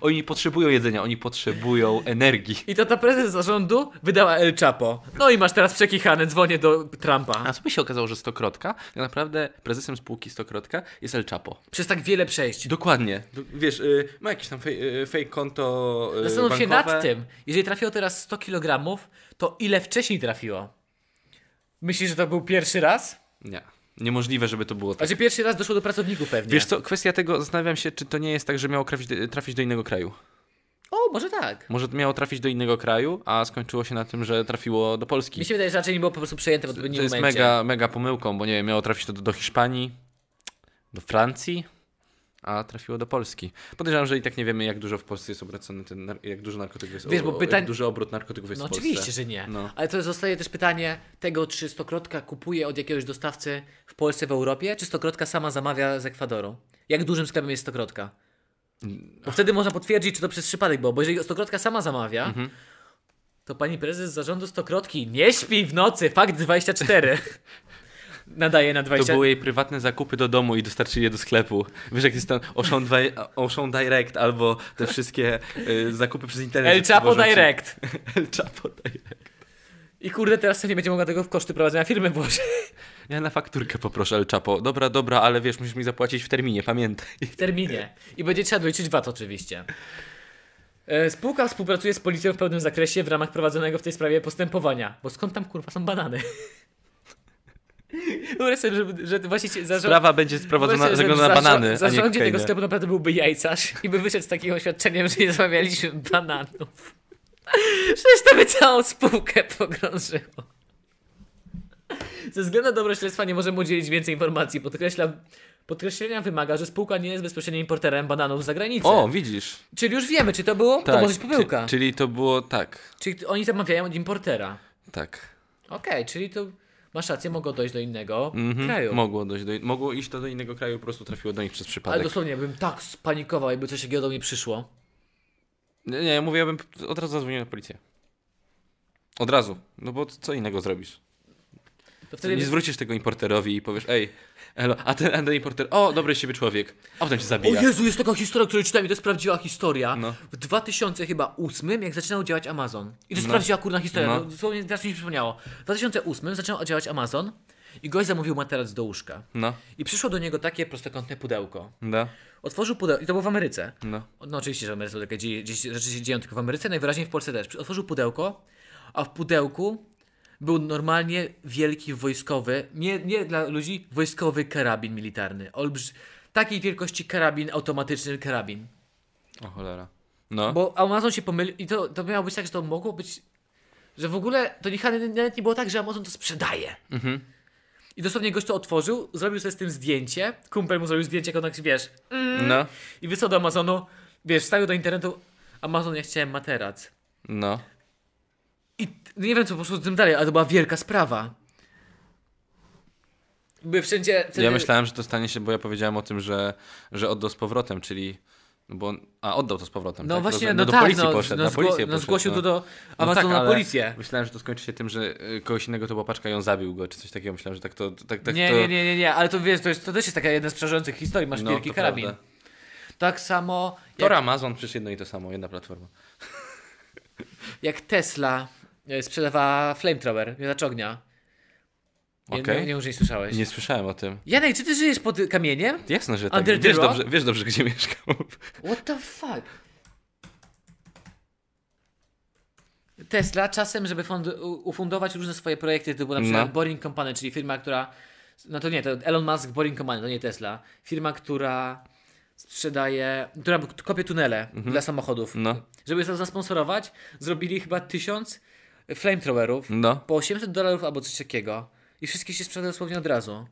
B: Oni nie potrzebują jedzenia, oni potrzebują energii.
A: I to ta prezes zarządu wydała El Chapo. No i masz teraz przekichane, dzwonię do Trumpa.
B: A co by się okazało, że Stokrotka, tak naprawdę prezesem spółki Stokrotka jest El Chapo.
A: Przez tak wiele przejść.
B: Dokładnie. Do- Wiesz, y, ma jakieś tam fej, y, fake konto y,
A: Zastanów się
B: bankowe.
A: nad tym. Jeżeli trafiło teraz 100 kg, to ile wcześniej trafiło? Myślisz, że to był pierwszy raz?
B: Nie. Niemożliwe, żeby to było tak.
A: Znaczy pierwszy raz doszło do pracowników pewnie.
B: Wiesz co, kwestia tego, zastanawiam się, czy to nie jest tak, że miało trafić, trafić do innego kraju.
A: O, może tak.
B: Może miało trafić do innego kraju, a skończyło się na tym, że trafiło do Polski.
A: Mi się wydaje, że raczej nie było po prostu przejęte w odpowiednim
B: To jest
A: momencie.
B: mega, mega pomyłką, bo nie wiem, miało trafić to do, do Hiszpanii, do Francji, a trafiło do Polski. Podejrzewam, że i tak nie wiemy, jak dużo w Polsce jest obracany ten, nar- jak dużo narkotyków jest,
A: Wiesz, bo
B: o- o-
A: pytań-
B: jak duży obrót narkotyków jest
A: No
B: w Polsce.
A: oczywiście, że nie.
B: No.
A: Ale to zostaje też pytanie tego, czy Stokrotka kupuje od jakiegoś dostawcy w Polsce, w Europie, czy Stokrotka sama zamawia z Ekwadoru? Jak dużym sklepem jest Stokrotka? Bo wtedy można potwierdzić, czy to przez przypadek było, bo jeżeli Stokrotka sama zamawia,
B: Mhm.
A: to pani prezes zarządu Stokrotki nie śpi w nocy, fakt 24. [LAUGHS] Nadaje na
B: To
A: 20.
B: były jej prywatne zakupy do domu i dostarczyli je do sklepu. Wiesz, jak jest ten Ocean, Dwi- Ocean Direct albo te wszystkie y, zakupy przez internet.
A: El
B: że
A: Chapo
B: przywożą ci-
A: Direct.
B: [LAUGHS] El Chapo Direct.
A: I kurde, teraz sobie nie będzie mogła tego w koszty prowadzenia firmy włożyć.
B: Ja na fakturkę poproszę El Chapo. Dobra, dobra, ale wiesz, musisz mi zapłacić w terminie, pamiętaj.
A: [LAUGHS] W terminie. I będzie trzeba doliczyć VAT oczywiście. E, Spółka współpracuje z policją w pełnym zakresie w ramach prowadzonego w tej sprawie postępowania. Bo skąd tam kurwa są banany? [LAUGHS] Wyobraź sobie, że, że właściciel zarząd...
B: Sprawa będzie sprowadzona,
A: wyobraź sobie, że
B: zaglądana na
A: zarząd-
B: banany, a nie
A: zarządzie tego
B: kokainę.
A: sklepu naprawdę byłby jajcarz i by wyszedł z takim oświadczeniem, że nie zamawialiśmy bananów. Przecież to by całą spółkę pogrążyło. Ze względu na dobro śledztwa nie możemy udzielić więcej informacji. Podkreślam, podkreślenia wymaga, że spółka nie jest bezpośrednim importerem bananów z zagranicy.
B: O, widzisz.
A: Czyli już wiemy, czy to było? to może być pomyłka.
B: Czy, czyli to było tak,
A: Czyli oni zamawiają od importera.
B: tak.
A: Okej, czyli to Masz rację, mogło dojść do innego
B: Mhm.
A: kraju.
B: Mogło, dojść do, mogło iść to do innego kraju, po prostu trafiło do nich przez
A: Ale
B: przypadek.
A: dosłownie, bym tak spanikował, jakby coś takiego do mnie przyszło.
B: Nie, nie, ja mówię, ja bym od razu zadzwonił na policję. Od razu, no bo co innego zrobisz?
A: To wtedy
B: Nie
A: by...
B: zwrócisz tego importerowi i powiesz, ej, elo, a ten, a ten importer, o, dobry z siebie człowiek, a potem cię zabija.
A: O Jezu, jest taka historia, którą czytałem i to jest prawdziwa historia.
B: No.
A: W 2008, jak zaczynał działać Amazon. I to jest
B: No.
A: prawdziwa kurna historia,
B: No.
A: no. dosłownie teraz mi się przypomniało. W 2008 zaczynał działać Amazon i gość zamówił materac do łóżka.
B: No,
A: I przyszło do niego takie prostokątne pudełko.
B: no,
A: Otworzył pudełko, i to było w Ameryce.
B: no.
A: No oczywiście, że w Ameryce takie dzieje, gdzieś rzeczy się dzieją tylko w Ameryce, najwyraźniej w Polsce też. Otworzył pudełko, a w pudełku był normalnie wielki wojskowy, nie, nie dla ludzi, wojskowy karabin militarny. Olbrz... Takiej wielkości karabin, automatyczny karabin.
B: O cholera. No,
A: Bo Amazon się pomylił i to, to miało być tak, że to mogło być, że w ogóle to nie, nawet nie było tak, że Amazon to sprzedaje. I dosłownie gość to otworzył, zrobił sobie z tym zdjęcie, kumpel mu zrobił zdjęcie, jak on tak, wiesz,
B: no,
A: i wysłał do Amazonu, wiesz, wstawił do internetu, Amazon, ja chciałem materac.
B: no.
A: I t- no nie wiem, co poszło z tym dalej, ale to była wielka sprawa. By wszędzie... wtedy-
B: Ja myślałem, że to stanie się, bo ja powiedziałem o tym, że, że oddał z powrotem, czyli. No bo, a, oddał to z powrotem.
A: No
B: tak?
A: właśnie,
B: Rozumiem.
A: no,
B: do
A: tak,
B: policji
A: no,
B: poszedł.
A: no,
B: na policję
A: zgło- no
B: poszedł,
A: zgłosił
B: no.
A: to do
B: No tak,
A: Amazonu na
B: ale
A: policję.
B: Myślałem, że to skończy się tym, że y, kogoś innego to popaczka i on zabił go, czy coś takiego. Myślałem, że tak to. Tak, tak
A: nie,
B: to,
A: nie, nie, nie, nie, ale to wiesz, to, jest, to też jest taka jedna z przerażających historii, masz
B: No,
A: wielki
B: to
A: karabin.
B: prawda.
A: Tak samo jak,
B: Tor Amazon, przecież jedno i to samo, jedna platforma.
A: jak Tesla e, sprzedawała flamethrower, miotacz ognia. Nie,
B: Okej.
A: nie, nie, może nie słyszałeś.
B: Nie słyszałem o tym.
A: Janek, czy ty żyjesz pod kamieniem?
B: Jasne, że
A: A
B: tak.
A: Del
B: Wiesz
A: Tiro?
B: dobrze, wiesz dobrze, gdzie mieszkam.
A: What the fuck? Tesla czasem, żeby fund- u- ufundować różne swoje projekty, typu na przykład
B: No.
A: Boring Company, czyli firma, która. No to nie, to Elon Musk Boring Company, to nie Tesla. Firma, która sprzedaje, która kopie tunele dla samochodów.
B: No.
A: Żeby to zasponsorować, zrobili chyba tysiąc flamethrowerów
B: No.
A: po 800 dolarów albo coś takiego. I wszystkie się sprzedają dosłownie od razu.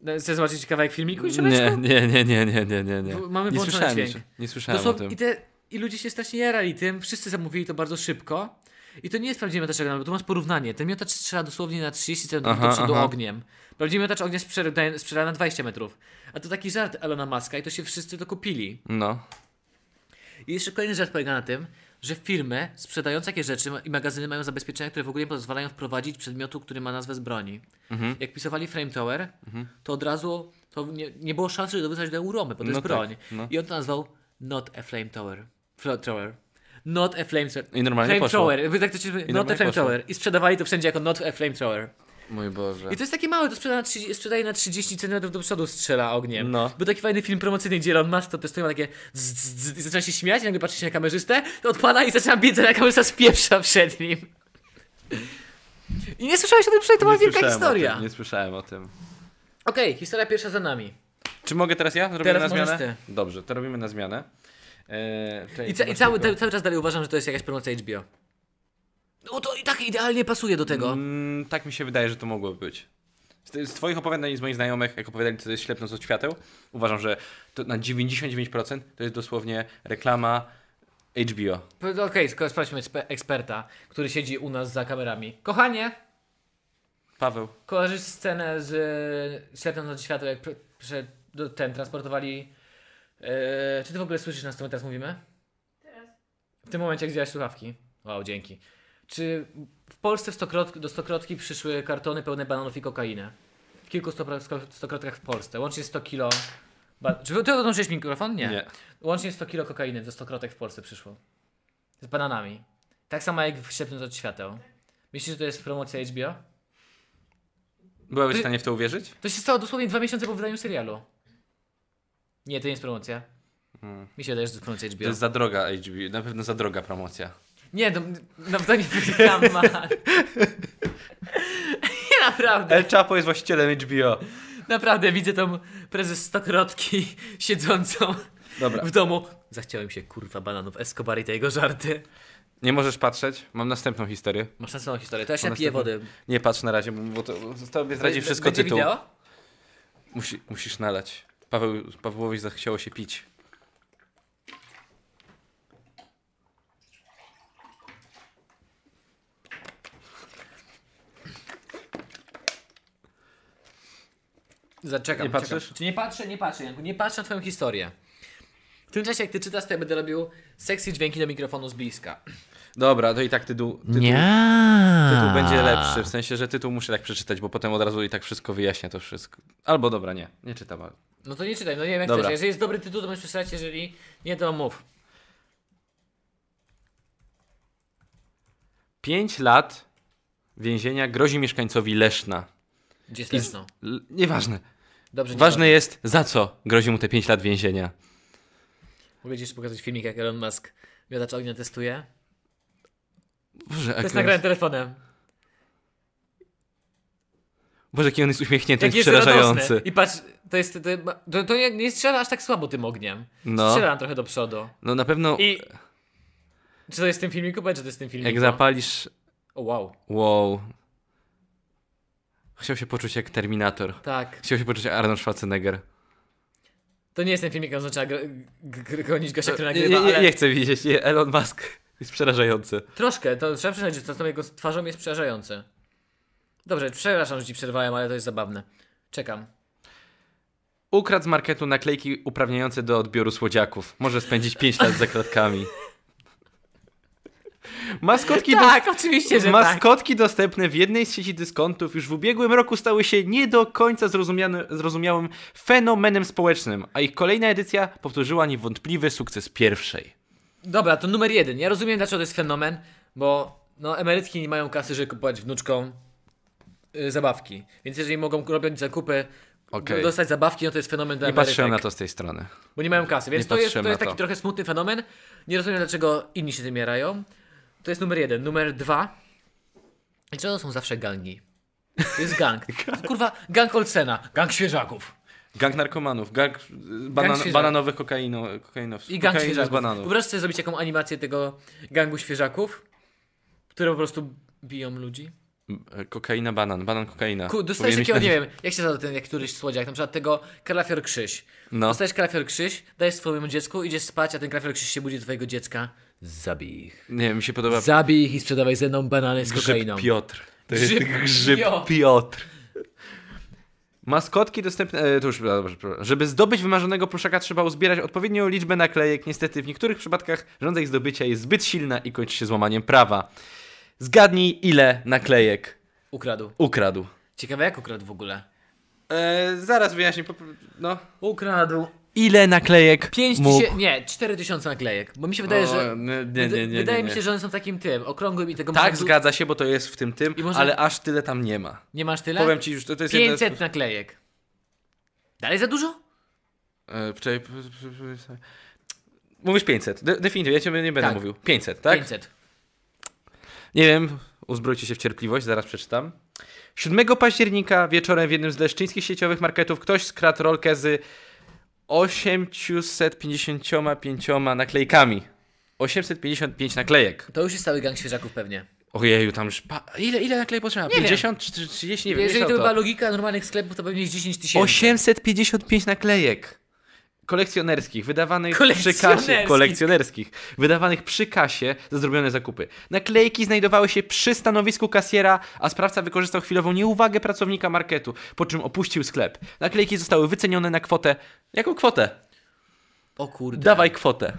A: No, Chcesz zobaczyć kawałek filmiku? i
B: Nie, nie, nie, nie, nie, nie, nie. nie.
A: Bo mamy
B: nie
A: włączony
B: słyszałem,
A: dźwięk.
B: jeszcze- nie słyszałem o
A: Dosłownie,
B: tym.
A: i, te, I ludzie się strasznie jarali tym, wszyscy zamówili to bardzo szybko. I to nie jest prawdziwy miotacz ognia, bo tu masz porównanie. Ten miotacz strzela dosłownie na 30 cm
B: Aha,
A: do przodu
B: aha.
A: ogniem. Prawdziwy miotacz ognia sprzeda- strzela na 20 metrów. A to taki żart Elona Muska i to się wszyscy to kupili.
B: No.
A: I jeszcze kolejny żart polega na tym, że firmy sprzedające takie rzeczy ma- i magazyny mają zabezpieczenia, które w ogóle nie pozwalają wprowadzić przedmiotu, który ma nazwę z broni.
B: Mhm.
A: Jak pisowali Frame Tower, to od razu to nie, nie było szansy, żeby wysłać do Euromy, bo to
B: No
A: jest
B: tak,
A: broń.
B: no.
A: I on to nazwał Not a Flame Tower. Flamethrower. Not a flamethrower.
B: I normalnie poszło.
A: Flamethrower. Wy tak to się- Not
B: normalnie
A: a flamethrower. I sprzedawali to wszędzie jako Not a flamethrower.
B: Mój Boże.
A: I to jest takie małe, to sprzeda na 30, sprzedaje na 30 cm do przodu strzela ogniem.
B: No.
A: Był taki fajny film promocyjny, gdzie Elon Musk to testuje, ma takie zzz, zzz, zzz, i zaczyna się śmiać, i nagle patrzy się na kamerzystę, to odpada i zaczyna biec, a kamerzysta spieprza przed nim. I nie słyszałeś o tym przed, to była
B: Nie
A: wielka
B: słyszałem o
A: historia.
B: tym, Nie słyszałem o tym.
A: Okej, historia pierwsza za nami.
B: Czy mogę teraz ja? Robimy
A: Teraz
B: na zmianę?
A: możesz
B: Dobrze, to robimy na zmianę. Eee, czekaj,
A: I, ca- i
B: zobacz
A: cały,
B: tylko.
A: te, cały czas dalej uważam, że to jest jakaś promocja HBO. No to i tak idealnie pasuje do tego.
B: Mm, tak mi się wydaje, że to mogłoby być. Z, ty- z twoich opowiadań i z moich znajomych, jak opowiadali, co to jest ślepnąc od świateł, uważam, że to na 99% to jest dosłownie reklama HBO.
A: Po- Okej, skoro sprawdźmy eksper- eksperta, który siedzi u nas za kamerami. Kochanie,
B: Paweł.
A: Kojarzysz scenę z e, Ślepnąc od światła, jak pr- przed, do, ten transportowali... E, czy ty w ogóle słyszysz nas, co my teraz mówimy?
C: Teraz.
A: W tym momencie, jak zdjęłaś słuchawki. Wow, dzięki. Czy w Polsce w stokrot, do Stokrotki przyszły kartony pełne bananów i kokainy? W kilku stopro- sko- Stokrotkach w Polsce. Łącznie 100 kilo... Ba- czy wy- ty odłączyłeś mikrofon? Nie. Łącznie 100 kilo kokainy do Stokrotek w Polsce przyszło. Z bananami. Tak samo jak w Ślepnąc od świateł. Myślisz, że to jest promocja HBO?
B: Byłabyś w
A: Ty-
B: stanie w to uwierzyć?
A: To się stało dosłownie dwa miesiące po wydaniu serialu. Nie, to nie jest promocja. Mi się wydaje, że to jest promocja HBO.
B: Hmm. To jest za droga HBO, na pewno za droga promocja.
A: Nie, no, naprawdę nie wygram, man. [LAUGHS] Nie, naprawdę.
B: El Chapo jest właścicielem HBO.
A: Naprawdę widzę tą prezes Stokrotki siedzącą
B: Dobra.
A: w domu. Zachciałem się, kurwa, bananów Escobar i te jego żarty.
B: Nie możesz patrzeć, mam następną historię.
A: Masz szansę na historię, to ja się
B: Mam
A: napiję
B: następną-
A: wody.
B: Nie patrz na razie, bo to, to tobie zdradzi
A: Be-
B: wszystko
A: będzie
B: tytuł.
A: Wideo?
B: Musi, musisz nalać. Paweł, Pawłowi zachciało się pić.
A: Zaczekam.
B: Nie patrzysz?
A: czekam. Czy nie patrzę? Nie patrzę, Janku. Nie patrzę na twoją historię. W tym czasie, jak ty czytasz, to ja będę robił sexy dźwięki do mikrofonu z bliska.
B: Dobra, to i tak tytuł, tytuł, tytuł
A: Nie.
B: będzie lepszy. W sensie, że tytuł muszę tak przeczytać, bo potem od razu i tak wszystko wyjaśnia to wszystko. Albo dobra, nie, nie czytam. ale-
A: No to nie czytaj, no nie wiem jak
B: Dobra.
A: chcesz. Jeżeli jest dobry tytuł, to możesz przeczytać, jeżeli nie, to mów.
B: Pięć lat więzienia grozi mieszkańcowi Leszna.
A: Gdzie jest Leszno?
B: L- nieważne.
A: Dobrze, nie
B: Ważne jest, za co grozi mu te pięć lat więzienia.
A: ma. Mogę ci jeszcze pokazać filmik, jak Elon Musk miotacz ognia testuje?
B: Boże,
A: To
B: jak
A: jest
B: on
A: nagrane
B: Tak jest,
A: telefonem.
B: Boże, jaki on jest uśmiechnięty,
A: Jak
B: jest
A: jest
B: przerażający.
A: radosny. I patrz, to jest... To, to, to nie nie strzela aż tak słabo tym ogniem.
B: No.
A: Strzela trochę do przodu.
B: No na pewno,
A: I... Czy to jest w tym filmiku? Powiedz, że to jest w tym filmiku.
B: jak zapalisz...
A: O, wow.
B: Wow. Chciał się poczuć jak Terminator.
A: Tak.
B: Chciał się poczuć jak Arnold Schwarzenegger.
A: To nie jest ten filmik, on zaczyna gr- gr- gonić gościa, który
B: No, Nie,
A: nagrywa,
B: nie, nie,
A: ale
B: nie chcę widzieć, nie, Elon Musk jest przerażający.
A: troszkę, to trzeba przyznać, że to z tą jego twarzą jest przerażające. Dobrze, przepraszam, że ci przerwałem, ale to jest zabawne. Czekam.
B: Ukradł z marketu naklejki uprawniające do odbioru słodziaków. Może spędzić 5
A: [LAUGHS]
B: lat za kratkami. Maskotki,
A: tak, oczywiście, że
B: dos-
A: tak.
B: maskotki dostępne w jednej z sieci dyskontów już w ubiegłym roku stały się nie do końca zrozumiane- zrozumiałym fenomenem społecznym, a ich kolejna edycja powtórzyła niewątpliwy sukces pierwszej.
A: Dobra, to numer jeden. Ja rozumiem, dlaczego to jest fenomen, bo no, emerytki nie mają kasy, żeby kupować wnuczkom y, zabawki. Więc jeżeli mogą robić zakupy,
B: Okej.
A: dostać zabawki, no to jest fenomen dla
B: Nie patrzyłem na
A: emerytek.
B: to z tej strony.
A: Bo nie mają kasy, więc
B: Nie
A: to jest,
B: patrzyłem
A: to jest
B: na
A: taki
B: to.
A: trochę smutny fenomen. Nie rozumiem, dlaczego inni się tym jarają. To jest numer jeden. Numer dwa. Dlaczego są zawsze gangi? To jest
B: [LAUGHS]
A: gang. Kurwa, gang Olsena, gang świeżaków.
B: Gang narkomanów, gang, y, banan,
A: świeżaków.
B: bananowych kokaino, kokainowców.
A: I gang
B: Kokaina z
A: świeżaków.
B: bananów.
A: Wyobraź sobie zrobić jaką animację tego gangu świeżaków, które po prostu biją ludzi.
B: E, Kokaina, banan, banan, kokaina.
A: Ku, dostajesz
B: Powinien mieć
A: takiego,
B: nazwę.
A: nie
B: [LAUGHS]
A: wiem, jak się nazywa ten jak któryś słodziak, na przykład tego kalafior krzyż.
B: No.
A: Dostajesz kalafior krzyż, dajesz swojemu dziecku, idziesz spać, a ten kalafior krzyż się budzi do twojego dziecka. Zabij ich.
B: Nie wiem, mi się podoba
A: Zabij ich i sprzedawaj ze mną banany z
B: grzyb
A: kokainą.
B: Piotr. To jest
A: Grzyb
B: grzyb,
A: Piotr.
B: Piotr. Maskotki dostępne. E, to już, a, dobrze, przepraszam. żeby zdobyć wymarzonego pluszaka, trzeba uzbierać odpowiednią liczbę naklejek. Niestety, w niektórych przypadkach rządza ich zdobycia jest zbyt silna i kończy się złamaniem prawa. Zgadnij, ile naklejek
A: Ukradł.
B: ukradł.
A: Ciekawe jak ukradł w ogóle.
B: E, zaraz wyjaśnię. po- No.
A: Ukradł.
B: Ile naklejek?
A: 5
B: mógł...
A: tysięcy, nie, 4 tysiące naklejek. Bo mi się wydaje,
B: O,
A: że...
B: nie, nie,
A: wyda-
B: nie, nie,
A: wydaje
B: nie,
A: mi
B: nie.
A: się, że one są takim tym, okrągłym i tego...
B: Tak,
A: można-
B: zgadza się, bo to jest w tym tym,
A: I może- Tak?
B: ale aż tyle tam nie ma.
A: Nie masz tyle?
B: Powiem ci już, to, to jest jedna
A: 500
B: z...
A: naklejek. Dalej za dużo?
B: E, wczoraj... Mówisz 500. De definitywnie, ja cię nie będę
A: Tak.
B: mówił. 500, tak?
A: 500.
B: Nie wiem, uzbrojcie się w cierpliwość, zaraz przeczytam. 7 października wieczorem w jednym z leszczyńskich sieciowych marketów ktoś skradł rolkę z 855 naklejkami. 855 naklejek.
A: To już jest cały gang świeżaków pewnie.
B: Ojeju, tam już... Pa... Ile, ile naklejek potrzeba?
A: wiem.
B: 50 czy 30? Nie wiem.
A: Jeżeli
B: mniejsza
A: to
B: o
A: by była logika normalnych sklepów, to pewnie jest 10 tysięcy.
B: 855 naklejek kolekcjonerskich, wydawanych przy kasie,
A: Kolekcjonerskich.
B: kolekcjonerskich, wydawanych przy kasie za zrobione zakupy. Naklejki znajdowały się przy stanowisku kasjera, a sprawca wykorzystał chwilową nieuwagę pracownika marketu, po czym opuścił sklep. Naklejki zostały wycenione na kwotę. Jaką kwotę?
A: O kurde.
B: Dawaj kwotę.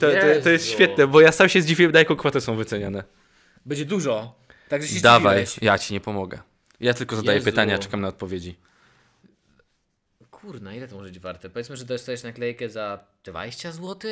B: To, to, to jest
A: Jezu.
B: świetne, bo ja sam się zdziwiłem, na jaką kwotę są wyceniane.
A: Będzie dużo. Także się
B: Dawaj,
A: zdziwiłeś.
B: ja ci nie pomogę. Ja tylko zadaję
A: Jezu.
B: pytania, czekam na odpowiedzi.
A: Kurna, ile to może być warte? Powiedzmy, że dostajesz naklejkę za 20 zł?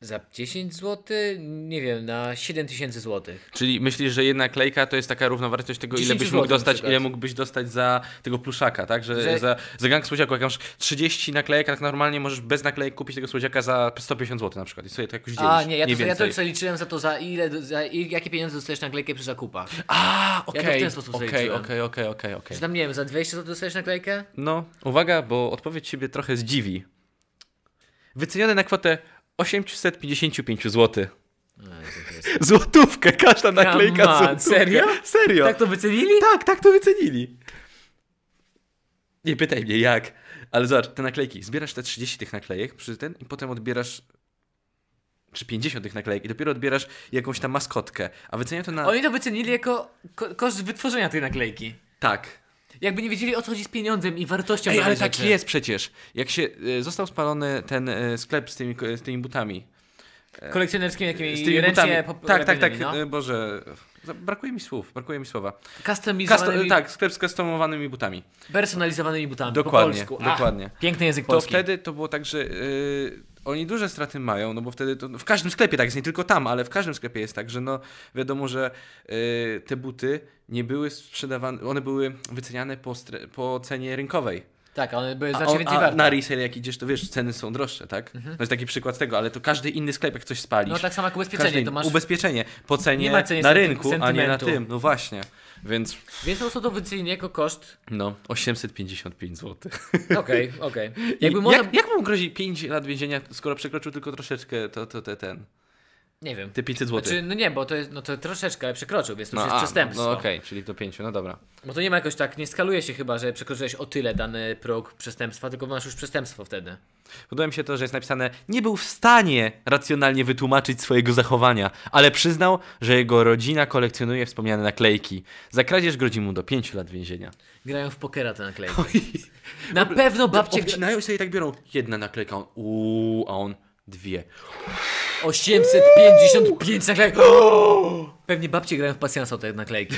A: Za 10 zł? Nie wiem, na 7 tysięcy złotych.
B: Czyli myślisz, że jedna klejka to jest taka równowartość tego, ile
A: 10
B: byś
A: złotych
B: mógł
A: na
B: dostać,
A: przykład.
B: ile mógłbyś dostać za tego pluszaka, tak? Że,
A: Że-
B: Za, za gang słodziaku, jak masz 30 naklejek, tak normalnie możesz bez naklejek kupić tego słodziaka za 150 zł na przykład. I sobie to jakoś dzielisz.
A: A, nie, ja to, ja to
B: więcej.
A: co liczyłem za to, za ile, za i- jakie pieniądze dostajesz naklejkę przy zakupach.
B: A,
A: ja to w
B: okej,
A: ten sposób sobie
B: okej,
A: liczyłem.
B: okej, okej, okej, okej.
A: Czy tam, nie wiem, za 200 zł dostajesz naklejkę?
B: No, uwaga, bo odpowiedź ciebie trochę zdziwi. Wycenione na kwotę 855 zł. No, Złotówkę, każda naklejka
A: on,
B: złotówkę.
A: serio?
B: Serio.
A: [LAUGHS] Tak to wycenili?
B: Tak, tak to wycenili. Nie pytaj mnie jak, ale zobacz, te naklejki. Zbierasz te 30 tych naklejek przy ten i potem odbierasz czy 50 tych naklejek i dopiero odbierasz jakąś tam maskotkę. A wycenia to na...
A: Oni to wycenili jako ko- koszt wytworzenia tej naklejki.
B: Tak.
A: Jakby nie wiedzieli o co chodzi z pieniądzem i wartością
B: Ej, ale
A: danej
B: tak
A: rzeczy.
B: jest przecież. Jak się e, został spalony ten e, sklep z tymi, z tymi butami.
A: Kolekcjonerskim jakimi
B: Z tymi
A: ręcznie pop-
B: tak, tak, tak.
A: robionymi, No.
B: e, Boże. za- Brakuje mi słów, brakuje mi słowa. Kasto-
A: Customizowanymi,
B: tak, sklep z customowanymi butami.
A: personalizowanymi butami
B: Dokładnie,
A: po polsku. Ach,
B: dokładnie.
A: Piękny język
B: To
A: polski.
B: wtedy to było tak, że y, oni duże straty mają, no bo wtedy to, w każdym sklepie tak jest, nie tylko tam, ale w każdym sklepie jest tak, że no wiadomo, że y, te buty nie były sprzedawane, one były wyceniane po, stre, po cenie rynkowej.
A: Tak, one były
B: A
A: znacznie
B: on-
A: więcej
B: a
A: warte.
B: na resale jak idziesz, to wiesz, ceny są droższe, tak? To jest taki przykład tego, ale to każdy inny sklep, jak coś spalisz.
A: Mhm. No tak samo jak
B: każdy
A: ubezpieczenie,
B: inny-
A: to masz...
B: Ubezpieczenie po cenie
A: Nie ma ceny
B: na
A: senty-
B: rynku, a nie na
A: sentymentu.
B: tym, no właśnie. Więc
A: Więc po prostu no, to wycenienie jako koszt. No,
B: no, 855 zł.
A: Okej,
B: [LAUGHS]
A: okej.
B: Jakby
A: Jakby można...
B: jak, jak mu grozi 5 lat więzienia, skoro przekroczył tylko troszeczkę to, to, te, ten,
A: Nie wiem.
B: te 500 zł?
A: Znaczy, no nie, bo to jest, no to troszeczkę, ale przekroczył, więc to
B: no,
A: już jest przestępstwo.
B: no okej, czyli do 5, no dobra.
A: Bo to nie ma jakoś tak, nie skaluje się chyba, że przekroczyłeś o tyle dany próg przestępstwa, tylko masz już przestępstwo wtedy.
B: Podoba mi się to, że jest napisane, nie był w stanie racjonalnie wytłumaczyć swojego zachowania, ale przyznał, że jego rodzina kolekcjonuje wspomniane naklejki. Za kradzież grozi mu do 5 lat więzienia.
A: Grają w pokera te naklejki. Na pewno babcie gra...
B: Obcinają sobie i tak biorą jedna naklejka, on uuu, a on dwie.
A: 855 naklejek. Pewnie babcie grają w pasjansa o te naklejki.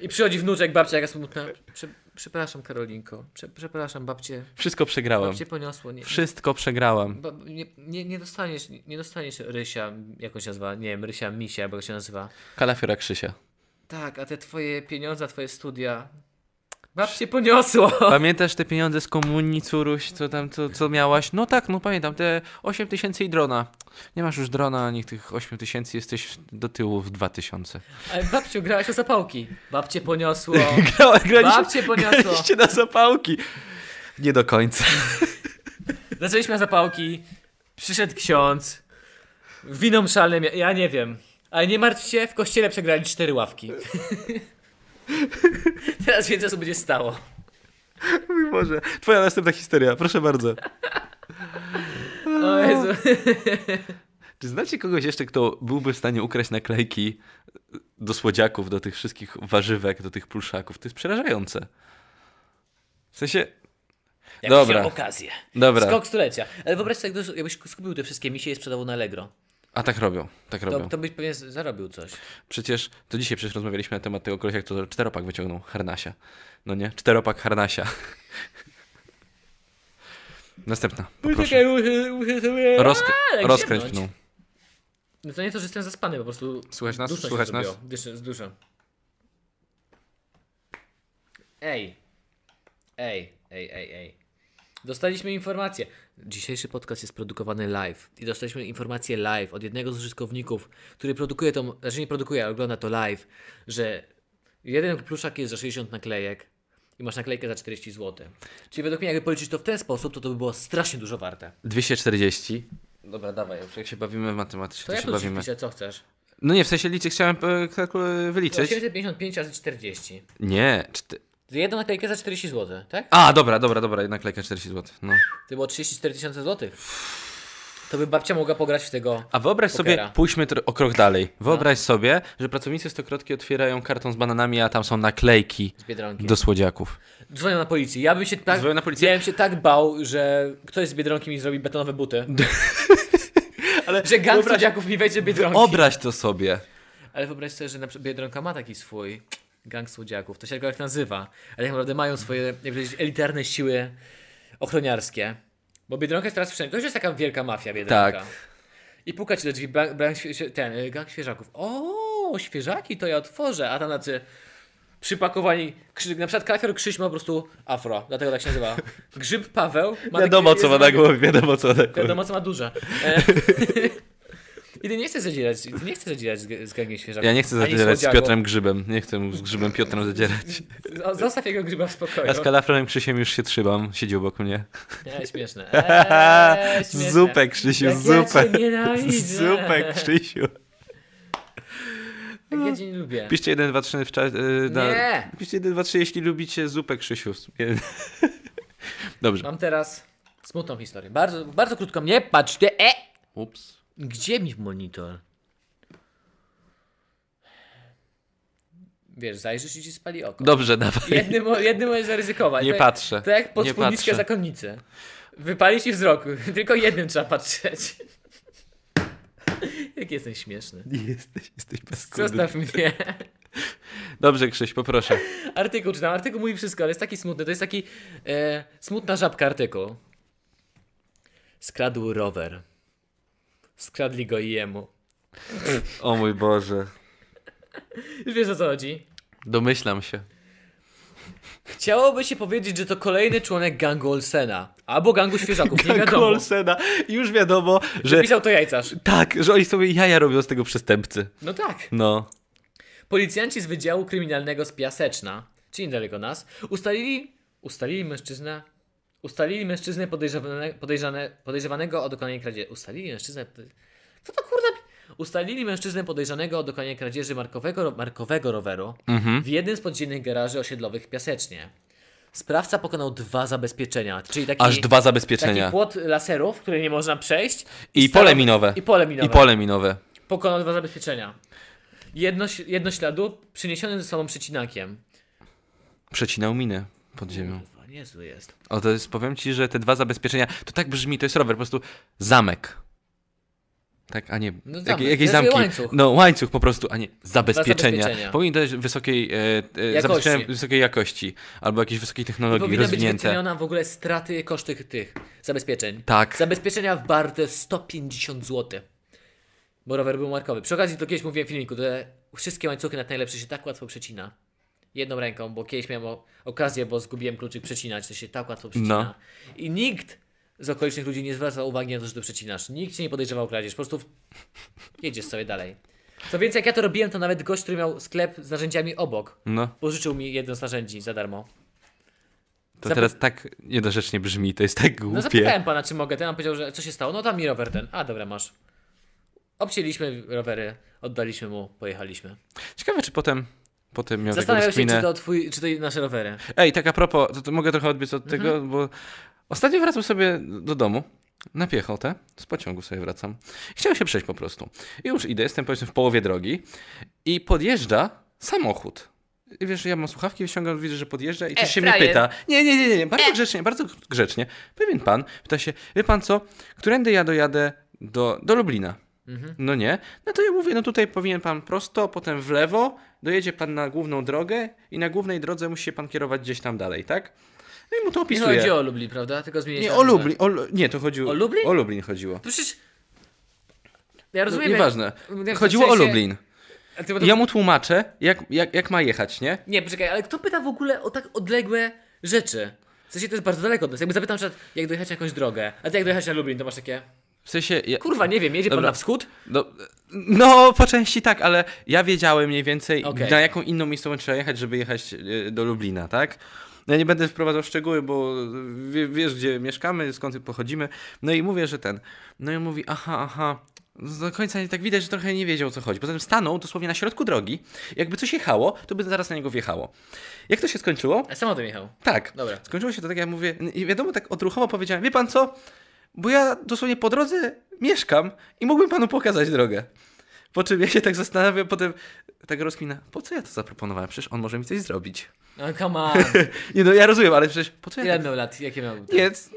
A: I przychodzi wnuczek, babcia jaka smutna. Prze przepraszam Karolinko, Prze przepraszam babcie.
B: Wszystko przegrałem.
A: Babcie poniosło. Nie,
B: Wszystko przegrałem.
A: ba nie, nie, nie, dostaniesz, nie dostaniesz Rysia, jak on się nazywa, nie wiem, Rysia Misia, bo jak się nazywa.
B: Kalafiora Krzysia.
A: Tak, a te twoje pieniądze, twoje studia. Babcie poniosło.
B: Pamiętasz te pieniądze z komunii, Curuś, co tam, co, co miałaś? No tak, no pamiętam, te 8 tysięcy i drona. Nie masz już drona, ani tych 8 tysięcy, jesteś do tyłu w [LAUGHS] 2000.
A: Ale babciu, grałaś o zapałki. Babcie poniosło.
B: Grała,
A: Babcie poniosło.
B: graliście na zapałki. Nie do końca.
A: Zaczęliśmy na zapałki, przyszedł ksiądz, winą szalnym, ja- ja nie wiem. Ale nie martw się, w kościele przegrali cztery ławki. [LAUGHS] Teraz więcej osób będzie stało.
B: [LAUGHS] Mój Boże. Twoja następna historia, proszę bardzo.
A: O Jezu.
B: Czy znacie kogoś jeszcze, kto byłby w stanie ukraść naklejki do słodziaków, do tych wszystkich warzywek, do tych pluszaków? To jest przerażające. W sensie...
A: Jak
B: Dobra.
A: Dobra. okazję.
B: Dobra.
A: Skok stulecia. Ale wyobraź sobie, jakbyś- jakbyś skupił te wszystkie misie i sprzedał na Allegro.
B: A tak robią, tak robią.
A: To, to byś pewnie z- zarobił coś.
B: Przecież to dzisiaj przecież rozmawialiśmy na temat tego kolesia, kto czteropak wyciągnął harnasia. No nie? Czteropak harnasia. [LAUGHS] Następna. Poproszę. Rozk- rozkręć mną.
A: No to nie to, że jestem zaspany, po prostu.
B: Słychać nas?
A: duszno się
B: Słychać nas?
A: zrobiło. Dyszę, zduszę. Ej. Ej, ej, ej, ej. Dostaliśmy informację. Dzisiejszy podcast jest produkowany live. I dostaliśmy informację live od jednego z użytkowników, który produkuje tą, znaczy nie produkuje, ale ogląda to live, że jeden pluszak jest za 60 naklejek i masz naklejkę za 40 zł. Czyli według mnie, jakby policzyć to w ten sposób, to to by było strasznie dużo warte.
B: 240. Dobra, dawaj, już jak się bawimy w matematyce,
A: To
B: to,
A: jak
B: się
A: tu
B: bawimy.
A: pisze, co chcesz?
B: No nie, w sensie liczy, chciałem e, kalku- wyliczyć.
A: 855 razy 40.
B: Nie, czty...
A: Za jedną naklejkę za 40 zł, tak?
B: A, dobra, dobra, dobra, jednak klejka 40 zł. No.
A: To było 34 tysiące złotych. To by babcia mogła pograć w tego.
B: A wyobraź
A: Pokera.
B: sobie, pójdźmy tro- o krok dalej.
A: No.
B: Wyobraź sobie, że pracownicy stokrotki otwierają karton z bananami, a tam są naklejki
A: Z Biedronki.
B: do słodziaków.
A: Dzwonią na policję. Ja bym się tak.
B: Dzwonią na policję?
A: Ja bym się tak bał, że ktoś z Biedronki mi zrobi betonowe buty.
B: Ale
A: Że gang słodziaków mi wejdzie do Biedronki.
B: Obraź to sobie.
A: Ale wyobraź sobie, że na przykład Biedronka ma taki swój gang słodziaków. To się tylko jak nazywa. Ale tak naprawdę mają swoje, jak powiedzieć, elitarne siły ochroniarskie. Bo Biedronka jest teraz wszędzie. To już jest taka wielka mafia Biedronka.
B: Tak.
A: I puka ci do drzwi blank, blank, świe- ten, y, gang świeżaków. O, świeżaki, to ja otworzę. A tam tacy przypakowani, krzyk, na przykład klakier Krzyś ma po prostu afro, dlatego tak się
B: [LAUGHS]
A: nazywa. Grzyb Paweł. Ma
B: Wiadomo,
A: taki-
B: co ma
A: jest
B: na głowie, wiadomo, co ma na głowie.
A: Wiadomo, co ma duże. E, [LAUGHS] I ty nie chcesz zadzierać, ty nie chcesz zadzierać z, g- z gangiem świeżaków.
B: Ja nie chcę
A: ani
B: zadzierać z
A: słodziaku.
B: Piotrem Grzybem. Nie chcę z Grzybem Piotrem zadzierać.
A: O, Zostaw jego grzyba w spokoju.
B: A z Kalafronem Krzysiem już się trzymam. Siedzi obok mnie.
A: E,
B: [LAUGHS]
A: śmieszne. E, śmieszne.
B: Zupę, Krzysiu,
A: Jak
B: zupę.
A: Ja cię nienawidzę.
B: Zupę, Krzysiu.
A: Jak ja cię nie lubię.
B: Piszcie 1, 2, 3 w czasie.
A: Nie.
B: Piszcie 1, 2, 3, jeśli lubicie zupę, Krzysiu. [LAUGHS] Dobrze.
A: Mam teraz smutną historię. Bardzo, bardzo krótko. Nie patrz, ty. E!
B: Ups.
A: Gdzie mi monitor? wiesz, zajrzysz i ci spali oko.
B: Dobrze, dawaj.
A: Jednym, mo- jednym możesz zaryzykować.
B: Nie
A: tak,
B: patrzę.
A: Tak jak pod
B: Nie
A: spódniczkę
B: patrzę.
A: zakonnicy. Wypali ci wzrok. [LAUGHS] Tylko jednym trzeba patrzeć. [LAUGHS] Jak jestem śmieszny.
B: Jesteś, jesteś bezkudny.
A: Zostaw mnie. [LAUGHS]
B: Dobrze, Krzyś, poproszę.
A: Artykuł czytam. Artykuł mówi wszystko, ale jest taki smutny. To jest taki e, smutna żabka artykuł. Skradł rower. Skradli go i jemu.
B: O mój Boże.
A: Już wiesz o co chodzi.
B: Domyślam się.
A: Chciałoby się powiedzieć, że to kolejny członek gangu Olsena. Albo gangu świeżaków, nie
B: Gangu
A: wiadomo.
B: Tak, Olsena. Już wiadomo, że
A: Pisał to jajcarz.
B: tak, że oni sobie jaja robią z tego przestępcy.
A: No tak.
B: No.
A: Policjanci z Wydziału Kryminalnego z Piaseczna, czyli niedaleko nas, ustalili, ustalili mężczyznę, ustalili mężczyznę podejrzane, podejrzane, podejrzewanego o dokonanie kradzieży. Ustalili mężczyznę... Co to kurde? Ustalili mężczyznę podejrzanego o dokonanie kradzieży markowego, markowego roweru
B: Mhm.
A: w jednym z podziemnych garaży osiedlowych w Piasecznie. Sprawca pokonał dwa zabezpieczenia, czyli taki,
B: Aż dwa
A: taki
B: zabezpieczenia.
A: płot laserów, który nie można przejść.
B: I
A: Staro-
B: pole minowe.
A: I pole minowe
B: I pole minowe.
A: pokonał dwa zabezpieczenia. Jedno, ś- jedno śladu przyniesione ze sobą przecinakiem.
B: Przecinał minę pod ziemią.
A: Kurwa, niezły jest.
B: O, to jest, powiem ci, że te dwa zabezpieczenia, to tak brzmi, to jest rower, po prostu zamek. Tak, a nie,
A: No
B: jakie-
A: zamek,
B: jakieś
A: znaczy
B: zamki.
A: łańcuch.
B: No łańcuch po prostu, a nie zabezpieczenia.
A: zabezpieczenia.
B: Powinien dać wysokiej, e, e,
A: Jakości.
B: zabezpieczenia wysokiej jakości albo jakiejś wysokiej technologii
A: Powinna być
B: rozwinięte.
A: wyceniona w ogóle straty koszty tych zabezpieczeń.
B: Tak.
A: Zabezpieczenia warte 150 zł. Bo rower był markowy. Przy okazji to kiedyś mówiłem w filmiku, że wszystkie łańcuchy na najlepsze się tak łatwo przecina. Jedną ręką, bo kiedyś miałem o- okazję, bo zgubiłem kluczyk przecinać, to się tak łatwo
B: No.
A: przecina. I nikt z okolicznych ludzi nie zwraca uwagi na to, że to przecinasz. Nikt cię nie podejrzewał o kradzież, po prostu w- jedziesz sobie dalej. Co więcej, jak ja to robiłem, to nawet gość, który miał sklep z narzędziami obok,
B: No,
A: pożyczył mi jedno z narzędzi za darmo.
B: to
A: Zapo-
B: teraz tak niedorzecznie brzmi, to jest tak
A: No
B: głupie.
A: zapytałem pana, czy mogę ten, on powiedział, że co się stało? No tam mi rower ten. A, dobra, masz. Obcięliśmy rowery, oddaliśmy mu, pojechaliśmy.
B: Ciekawe, czy potem, potem miał taką
A: Zastanawiam się, czy
B: rozkminę.
A: to, twój, czy to nasze rowery.
B: Ej, tak a propos, to, to mogę trochę odbiec od
A: Mhm.
B: tego, bo ostatnio wracam sobie do domu na piechotę, z pociągu sobie wracam. Chciałem się przejść po prostu. I już idę, jestem powiedzmy w połowie drogi i podjeżdża samochód. I wiesz, ja mam słuchawki, wyciągam, widzę, że podjeżdża i coś się mnie
A: E, frajer. E.
B: pyta. Nie, nie, nie, nie, nie, bardzo grzecznie, bardzo grzecznie. Pewien pan pyta się, wie pan co, którędy ja dojadę do, do Lublina? No nie. No to ja mówię, no tutaj powinien pan prosto, potem w lewo, dojedzie pan na główną drogę i na głównej drodze musi się pan kierować gdzieś tam dalej, tak? No i mu to
A: Nie
B: opisuje.
A: chodzi o Lublin, prawda? Tylko zmienić
B: nie,
A: nazwę.
B: o Lublin, o, Lu- nie, to chodziło...
A: O Lublin?
B: O Lublin chodziło.
A: To No Przecież... Ja
B: No,
A: rozumiem... jak-
B: nieważne.
A: jak-
B: Chodziło
A: w
B: o
A: sensie-
B: Lublin.
A: A ty potem-
B: Ja mu tłumaczę, jak, jak, jak ma jechać, nie?
A: Nie, poczekaj, ale kto pyta w ogóle o tak odległe rzeczy? W sensie to jest bardzo daleko od nas. Jakby zapytam, na przykład, jak dojechać na jakąś drogę, a ty jak dojechać na Lublin, to masz takie...
B: W sensie... Ja,
A: Kurwa, nie wiem, jedzie pan
B: Dobra.
A: na wschód?
B: No, no, po części tak, ale ja wiedziałem mniej więcej,
A: Okej.
B: na jaką inną miejscową trzeba jechać, żeby jechać e, do Lublina, tak? Ja nie będę wprowadzał szczegóły, bo wie, wiesz, gdzie mieszkamy, skąd pochodzimy. No i mówię, że ten. No i on mówi, aha, aha. Do końca nie tak widać, że trochę nie wiedział o co chodzi. Potem stanął dosłownie na środku drogi. Jakby coś jechało, to by zaraz na niego wjechało. Jak to się skończyło?
A: A samochodem jechał.
B: Tak.
A: Dobra.
B: Skończyło się to tak, jak mówię, i wiadomo, tak odruchowo powiedziałem, wie pan co, bo ja dosłownie po drodze mieszkam i mógłbym panu pokazać drogę. Po czym ja się tak zastanawiam, potem tak rozkmina, po co ja to zaproponowałem, przecież on może mi coś zrobić. [LAUGHS]
A: No come on.
B: Nie no, ja rozumiem, ale przecież po co ja
A: Ile
B: tak...
A: miał lat? Jakie miał?
B: Nie, c-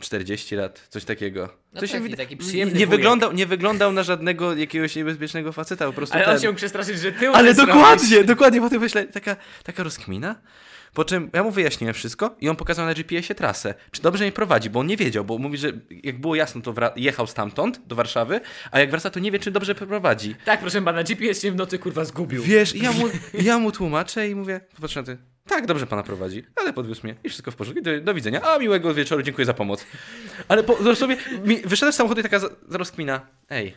B: 40 lat, coś takiego.
A: No
B: To
A: taki-
B: wyda-
A: taki przyjemny
B: nie
A: wujek.
B: wyglądał, nie wyglądał na żadnego jakiegoś niebezpiecznego faceta, po prostu
A: Ale
B: ten...
A: on się mógł przestraszyć, że [LAUGHS] ty
B: Ale
A: umiesz
B: dokładnie,
A: robić.
B: dokładnie, potem myślę, taka, taka rozkmina. Po czym ja mu wyjaśniłem wszystko i on pokazał na GPS-ie trasę. Czy dobrze mnie prowadzi, bo on nie wiedział, bo mówi, że jak było jasno, to wra- jechał stamtąd do Warszawy, a jak wraca, to nie wie, czy dobrze prowadzi.
A: Tak, proszę pana, GPS się w nocy kurwa zgubił.
B: Wiesz, i ja mu, i ja mu tłumaczę i mówię, popatrz na ty, tak, dobrze pana prowadzi, ale podwiózł mnie i wszystko w porządku, I do, do widzenia, a miłego wieczoru, dziękuję za pomoc. Ale po, dosłownie, mi, wyszedłem z samochodu i taka za- rozkmina, ej,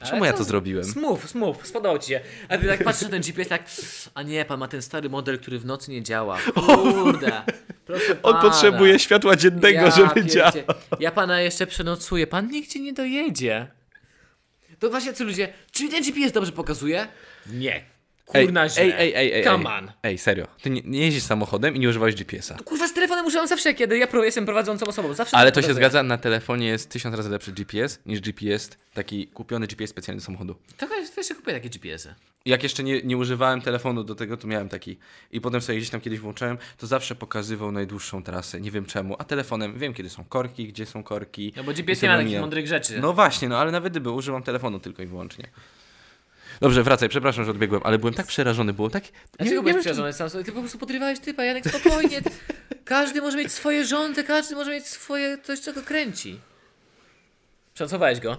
A: Ale
B: czemu ja
A: co?
B: to zrobiłem?
A: Smów, smów, spodobał ci się. A ty tak patrzysz na ten GPS, tak. A nie, pan ma ten stary model, który w nocy nie działa. Kurde. Proszę pana.
B: światła dziennego,
A: pierdzie- Ja pana jeszcze przenocuję. Pan nigdzie nie dojedzie. To właśnie ci ludzie. Czy ten GPS dobrze pokazuje? Nie. kurna źle.
B: ej, ej, ej, ej.
A: Come on.
B: Ej, serio. Ty nie, nie jeździsz samochodem i nie używałeś GPS-a.
A: Kurwa, z telefonem używam zawsze, kiedy ja pro- jestem prowadzącą osobą. Zawsze
B: Ale to się
A: pokazuję.
B: zgadza, na telefonie jest tysiąc razy lepszy GPS niż GPS, taki kupiony GPS specjalny do samochodu.
A: Trochę jeszcze kupię takie GPS-y.
B: Jak jeszcze nie, nie używałem telefonu do tego, to miałem taki. I potem sobie gdzieś tam kiedyś włączałem, to zawsze pokazywał najdłuższą trasę. Nie wiem czemu, a telefonem wiem, kiedy są korki, gdzie są korki.
A: No bo
B: i
A: GPS nie
B: sobie
A: ma takich
B: mijam.
A: mądrych rzeczy.
B: No właśnie, no ale nawet gdyby używam telefonu tylko i wyłącznie. Dobrze, wracaj, przepraszam, że odbiegłem, ale byłem tak przerażony, było tak.
A: Dlaczego
B: nie
A: byłeś
B: wiem,
A: przerażony sam sobie? Ty po prostu podrywałeś typa, Janek, spokojnie. [LAUGHS] ty- Każdy może mieć swoje żądze, każdy może mieć swoje coś, co go kręci. Szacowałeś go.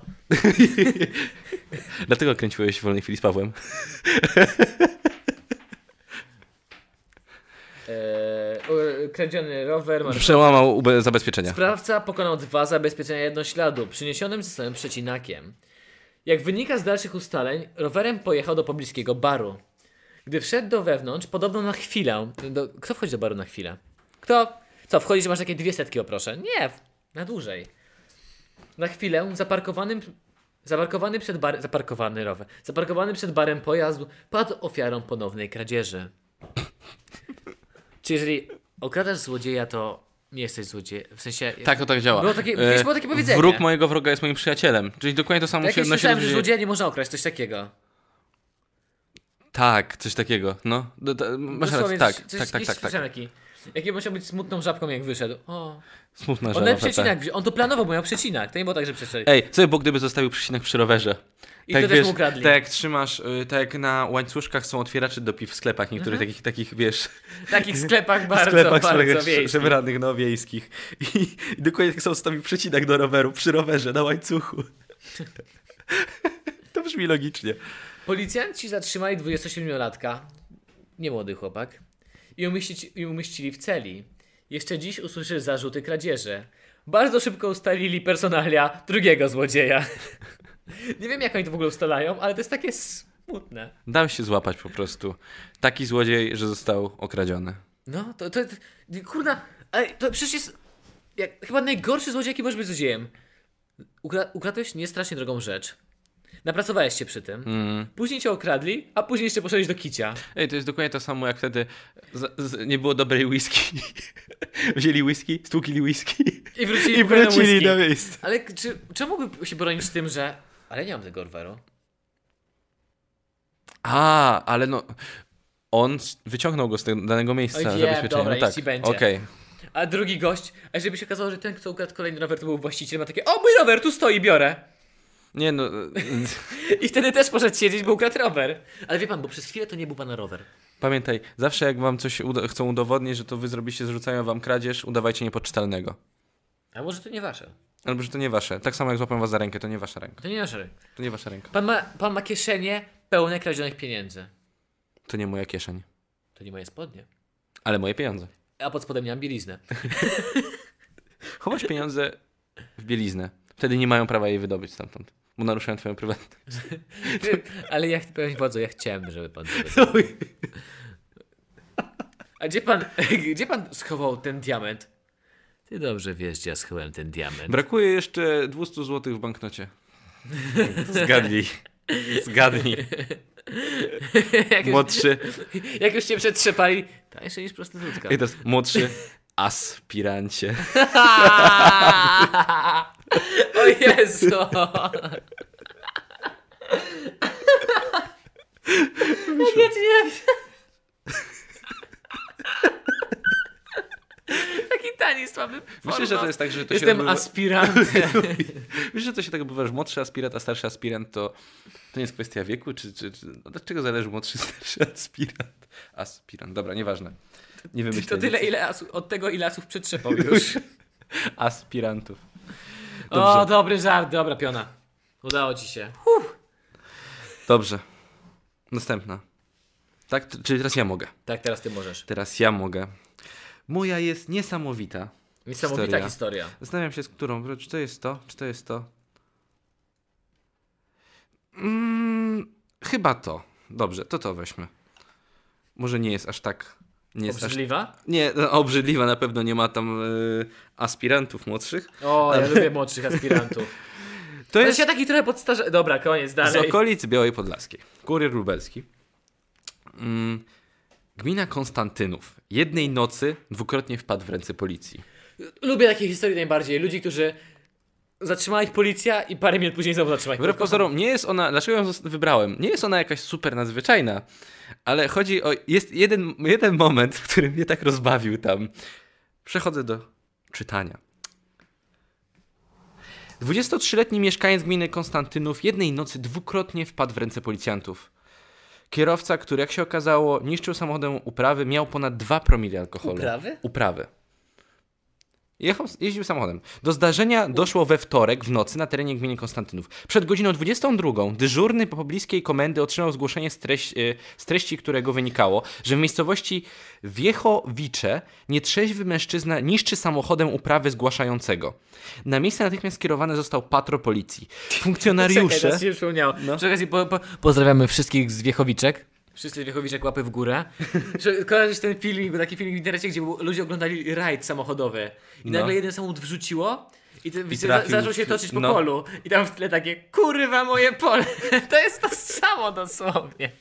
B: czy- Dlatego kręciłeś w wolnej chwili z Pawłem.
A: Eee, kradziony rower, masz
B: Przełamał UB zabezpieczenia.
A: Sprawca pokonał dwa zabezpieczenia jedno śladu, przyniesionym ze samym przecinakiem. Jak wynika z dalszych ustaleń, rowerem pojechał do pobliskiego baru. Gdy wszedł do wewnątrz, podobno na chwilę. Do, kto wchodzi do baru na chwilę? Kto? Co, wchodzisz, masz takie dwie setki, o proszę? Nie, w- na dłużej. Na chwilę zaparkowanym, zaparkowany przed bar, zaparkowany rower, zaparkowany przed barem pojazd padł ofiarą ponownej kradzieży. Czy jeżeli okradasz złodzieja, to nie jesteś złodziejem? W sensie.
B: Tak, to tak działa.
A: Było takie-
B: E,
A: kiedyś było takie powiedzenie.
B: Wróg mojego wroga jest moim przyjacielem. Czyli dokładnie to samo
A: Jak
B: się
A: ja
B: odnosi
A: słyszałem,
B: do
A: że
B: ludzi-
A: złodzieja nie można okraść, coś takiego.
B: Tak, coś takiego. No, do, do, masz rację.
A: Dosłownie
B: Tak,
A: coś- coś-
B: tak, tak,
A: kiedyś
B: tak, tak.
A: słyszałem Jaki, jaki musiał być smutną żabką, jak wyszedł. O.
B: Smutna
A: On miał
B: żaba. tak.
A: przecinak, wzi- on to planował, bo miał przecinak. To nie było tak, że przecinek.
B: Ej, co by było, gdyby zostawił przycinek przy rowerze?
A: I to też mu ukradli.
B: Tak jak trzymasz, y, tak jak na łańcuszkach są otwieracze do piw w sklepach niektórych takich, takich, wiesz,
A: W takich sklepach
B: [LAUGHS] w
A: Mhm. bardzo,
B: sklepach
A: bardzo
B: sklepach
A: wiejskich.
B: przebranych, no, wiejskich. I, i dokładnie tak samo zostawił przycinek do roweru, przy rowerze, na łańcuchu. [LAUGHS] to brzmi logicznie.
A: Policjanci zatrzymali 27-latka, niemłody chłopak, i, umieścić, i umieścili w celi. Jeszcze dziś usłyszy zarzuty kradzieży. Bardzo szybko ustalili personalia drugiego złodzieja. [LAUGHS] nie wiem, jak oni to w ogóle ustalają, ale to jest takie smutne.
B: Dał się złapać po prostu. Taki złodziej, że został okradziony.
A: No, to, to, to kurna, ale to przecież jest jak, chyba najgorszy złodziej, jaki możesz być złodziejem. Ukra ukradłeś niestrasznie drogą rzecz. Napracowałeś się przy tym.
B: Mm.
A: Później cię okradli, a później jeszcze poszedłeś do kicia.
B: Ej, to jest dokładnie to samo jak wtedy z, z, nie było dobrej whisky. [LAUGHS] Wzięli whisky, stłukili whisky
A: I wrócili,
B: i
A: kolejne
B: wrócili
A: whisky.
B: do miejsca.
A: Ale k- czy, czemu mógłby się bronić tym, że... Ale nie mam tego roweru.
B: A, ale no. On s- wyciągnął go z tego danego miejsca
A: Oj, wiem,
B: zabezpieczenia.
A: dobra,
B: no tak.
A: jeśli będzie.
B: Okej.
A: A drugi gość, a żeby się okazało, że ten, kto ukradł kolejny rower, to był właściciel, ma takie, o mój rower, tu stoi, biorę.
B: Nie no. [LAUGHS]
A: I wtedy też poszedł siedzieć, bo ukradł rower. Ale wie pan, bo przez chwilę to nie był pana rower.
B: Pamiętaj, zawsze jak wam coś uda- chcą udowodnić, że to wy zrobiliście, zrzucają wam kradzież, udawajcie niepoczytalnego.
A: A może to nie wasze?
B: Albo że to nie wasze. Tak samo jak złapam was za rękę, to nie wasza ręka.
A: To nie nasz rynek.
B: To nie wasza ręka.
A: Pan ma, pan ma kieszenie pełne kradzionych pieniędzy.
B: To nie moja kieszeń.
A: To nie moje spodnie.
B: Ale moje pieniądze.
A: A pod spodem miałam bieliznę.
B: Chowasz pieniądze w bieliznę. Wtedy nie mają prawa jej wydobyć stamtąd. Bo naruszają twoją prywatność.
A: Ale ja powiem władzą, ja chciałem, żeby pan to robił. A gdzie pan, [LAUGHS] gdzie pan schował ten diament? Ty dobrze wiesz, gdzie ja schowałem ten diament.
B: Brakuje jeszcze 200 zł w
A: [LAUGHS]
B: banknocie. Zgadnij. Zgadnij.
A: [LAUGHS] jak, już,
B: Młodszy.
A: jak już cię przetrzepali, tańsze niż prostytutka.
B: I teraz młodszy aspirancie.
A: o
B: [LAUGHS]
A: Jezu! Tak Ja ci nie Taki tani, słaby
B: Myślę, że to jest tak, że to
A: Jestem
B: się odbywa... [LAUGHS]
A: aspirantem.
B: Myślę, że to się tak odbywa, że młodszy aspirant, a starszy aspirant to, to nie jest kwestia wieku, czy, czy, czy... No, od czego zależy młodszy, [LAUGHS] starszy aspirant? Aspirant, dobra, nieważne. Nie
A: To
B: wymyślę.
A: tyle
B: nic.
A: ile asu, od tego ile asów przetrzepał już.
B: Aspirantów.
A: O, dobry żart, dobra piona. Udało ci się.
B: Dobrze. Następna. Tak, t- czyli teraz ja mogę.
A: Tak, teraz ty możesz.
B: Teraz ja mogę. Moja jest niesamowita.
A: Niesamowita
B: Historia.
A: historia.
B: Zastanawiam się z którą. Czy to jest to? Czy to jest to? Mm, chyba to. Dobrze, to to weźmy. Może nie jest aż tak. Nie jest aż...
A: Obrzydliwa?
B: Nie, no, obrzydliwa na pewno nie ma tam y, aspirantów młodszych.
A: O, ja lubię młodszych aspirantów.
B: To
A: To jest
B: jest
A: ja taki trochę podstarze... Dobra, koniec,
B: z
A: dalej.
B: okolic Białej Podlaskiej. Kurier lubelski. Mm, gmina Konstantynów. Jednej nocy dwukrotnie wpadł w ręce policji.
A: Lubię takie historie najbardziej. Ludzi, którzy zatrzymała ich policja i parę minut później znowu zatrzymała ich
B: Wbrew pozorom, nie jest ona, dlaczego ją zos- wybrałem? Nie jest ona jakaś super nadzwyczajna, ale chodzi o, jest jeden, jeden moment, w którym mnie tak rozbawił tam. Przechodzę do czytania. 23-letni mieszkaniec gminy Konstantynów jednej nocy dwukrotnie wpadł w ręce policjantów. Kierowca, który jak się okazało niszczył samochodem uprawy, miał ponad 2 promili alkoholu.
A: Uprawy?
B: Uprawy. Jechał, jeździł samochodem. Do zdarzenia doszło we wtorek w nocy na terenie gminy Konstantynów. Przed godziną 22 dyżurny po pobliskiej komendy otrzymał zgłoszenie z, treś, y, z treści, którego wynikało, że w miejscowości Wiechowicze nietrzeźwy mężczyzna niszczy samochodem uprawy zgłaszającego. Na miejsce natychmiast skierowany został patro [LAUGHS] policji.
A: Czekaj,
B: Funkcjonariusze...
A: teraz się przypomniało.
B: No.
A: Przy okazji po, po, pozdrawiamy wszystkich z Wiechowiczek. Wszyscy z Wiechowiczek łapy w górę. [LAUGHS] Że- Kojarzysz ten filmik, był taki filmik w internecie, gdzie był- ludzie oglądali rajd samochodowy. I
B: No.
A: nagle jeden samochód wrzuciło i, ten, za-
B: trafił
A: zaczął
B: w-
A: się toczyć po
B: no.
A: polu. I tam w tle takie, kurwa moje pole. [LAUGHS] to jest to samo dosłownie.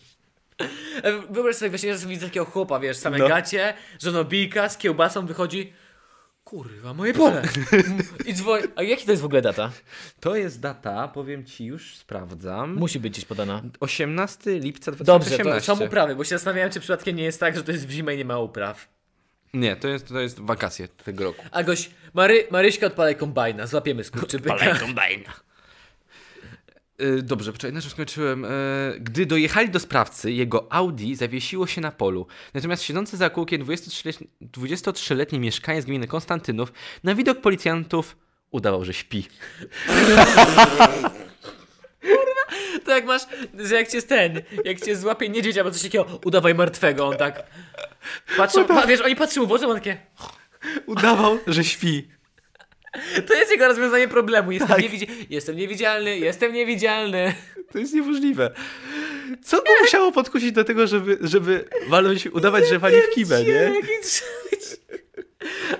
A: Wyobraź sobie, właśnie raz widzę takiego chłopa, wiesz, same
B: No.
A: gacie, żonobijka z kiełbasą wychodzi, kurwa moje
B: [LAUGHS]
A: pole. I dzwoni, a jaki to jest w ogóle data?
B: To jest data, powiem ci, już sprawdzam.
A: Musi być gdzieś podana.
B: 18 lipca
A: Dobrze,
B: 2018.
A: to są uprawy, bo się zastanawiałem, czy przypadkiem nie jest tak, że to jest w zimę i nie ma upraw.
B: Nie, to jest, to jest wakacje tego roku.
A: A goś, Mary, Maryśka odpalaj kombajna, złapiemy skurczybyka.
B: kombajna. Y, Dobrze, wczoraj na czym skończyłem. E, Gdy dojechali do sprawcy, jego Audi zawiesiło się na polu. Natomiast siedzący za kółkiem 23-letni 23-letni mieszkaniec gminy Konstantynów na widok policjantów udawał, że śpi.
A: [LAUGHS] To jak masz, że jak cię jest ten, jak cię złapie niedźwiedź albo coś takiego, udawaj martwego, on tak patrzą, pa, wiesz, oni patrzą mu w oczy, on takie,
B: Udawał, że śpi.
A: to jest jego rozwiązanie problemu, jestem, niewidzi- jestem niewidzialny, jestem niewidzialny.
B: To jest niemożliwe. Co go musiało podkusić do tego, żeby, żeby walnąć, udawać, że wali w kibę,
A: [LAUGHS]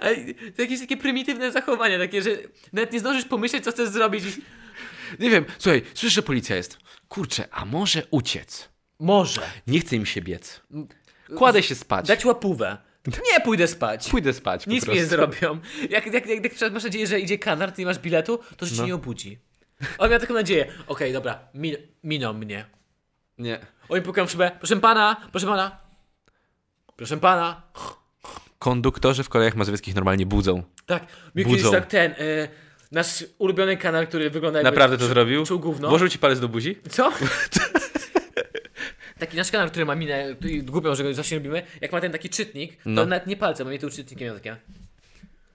A: Ale to jakieś takie prymitywne zachowania, takie, że nawet nie zdążysz pomyśleć, co chcesz zrobić. i-
B: Nie wiem, słuchaj, słyszę, że policja jest. Kurczę, a może uciec?
A: Może.
B: Nie chce im się biec. Kładę się spać.
A: Dać łapówę. Nie pójdę spać.
B: Pójdę spać. po
A: Nic mi
B: prostu.
A: nie zrobią. Jak, jak, jak, jak przykład masz nadzieję, że idzie kanar, ty nie masz biletu, to że cię
B: No.
A: nie obudzi. On miał taką nadzieję. Okej, dobra, min, miną mnie.
B: Nie.
A: Oni pukają w szybę. Proszę pana, proszę pana. Proszę pana.
B: Konduktorzy w kolejach mazowieckich normalnie budzą.
A: Tak, mi
B: Budzą.
A: kiedyś tak ten, y, nasz ulubiony kanal, który wygląda jakby...
B: Naprawdę to zrobił?
A: czuł gówno?
B: Włożył ci palec do buzi?
A: Co? [LAUGHS] taki nasz kanał, który ma minę i głupią, że go właśnie lubimy, jak ma ten taki czytnik,
B: No.
A: to nawet nie palcem, bo mnie tym czytnikiem miał takie...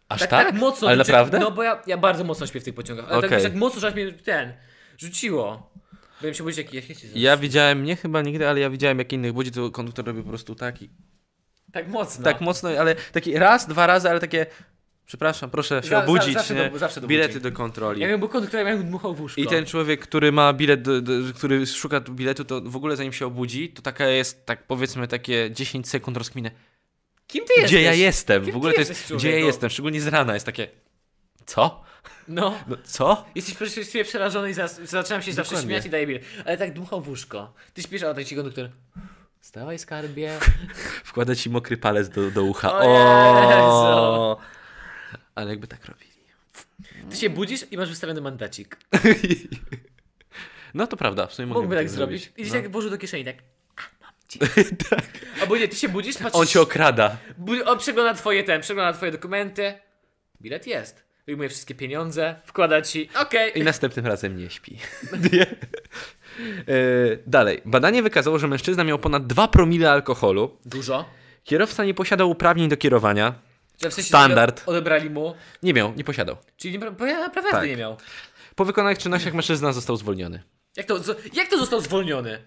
B: Aż
A: Tak,
B: tak?
A: tak, mocno.
B: Ale
A: rzuci-
B: naprawdę?
A: No bo ja, ja bardzo mocno śpię w tych pociągach. Ale tak,
B: Okej.
A: tak mocno, że aż mnie ten rzuciło. Byłem się budzić, jak, jak się
B: Ja widziałem, nie chyba nigdy, ale ja widziałem jak innych budzi, to konduktor robił po prostu taki.
A: Tak mocno.
B: Tak mocno, ale taki raz, dwa razy, ale takie... Przepraszam, proszę się
A: Za- za-
B: obudzić.
A: zawsze
B: nie?
A: do- zawsze do
B: Bilety
A: budzi.
B: do kontroli.
A: Ja miałem był kąt, który miał dmuchał w łóżko.
B: I ten człowiek, który ma bilet, do, do, który szuka tu biletu, to w ogóle zanim się obudzi, to taka jest, tak powiedzmy, takie 10 sekund rozkminę.
A: Kim ty jesteś?
B: Gdzie ja jestem?
A: Kim
B: W ogóle
A: ty
B: to jest,
A: jesteś,
B: gdzie ja
A: człowieku?
B: jestem? Szczególnie z rana jest takie, co?
A: No.
B: No, co?
A: Jesteś przez chwilę przerażony i zaraz, zaczynam się zawsze
B: Dokładnie.
A: śmiać i daję bil. Ale tak dmuchał w łóżko. Ty śpisz, a tak ci konduktor. Wstawaj skarbie.
B: Wkłada ci mokry palec do, do ucha.
A: O
B: O! Ale jakby tak robili.
A: Ty się budzisz i masz wystawiony mandacik.
B: No to prawda, w sumie mogę
A: Mógłby tak zrobić. I no. tak włożył do kieszeni, tak. A, mam
B: [LAUGHS]
A: ci. Albo nie, ty się budzisz, patrzysz.
B: Tak. On cię okrada.
A: Bu- On przegląda twoje ten, przegląda twoje dokumenty. Bilet jest. Wyjmuje wszystkie pieniądze, wkłada ci. Okej.
B: I następnym razem
A: [LAUGHS]
B: nie śpi. Nie. E, Dalej. Badanie wykazało, że mężczyzna miał ponad 2 promile alkoholu.
A: Dużo.
B: Kierowca nie posiadał uprawnień do kierowania.
A: Że wcześniej
B: Standard.
A: sobie Odebrali mu.
B: Nie miał, nie posiadał.
A: Czyli nie, pra- pra- prawa jazdy
B: Tak.
A: nie miał.
B: Po wykonanych czynnościach mężczyzna został zwolniony.
A: Jak to, zo- jak to został zwolniony?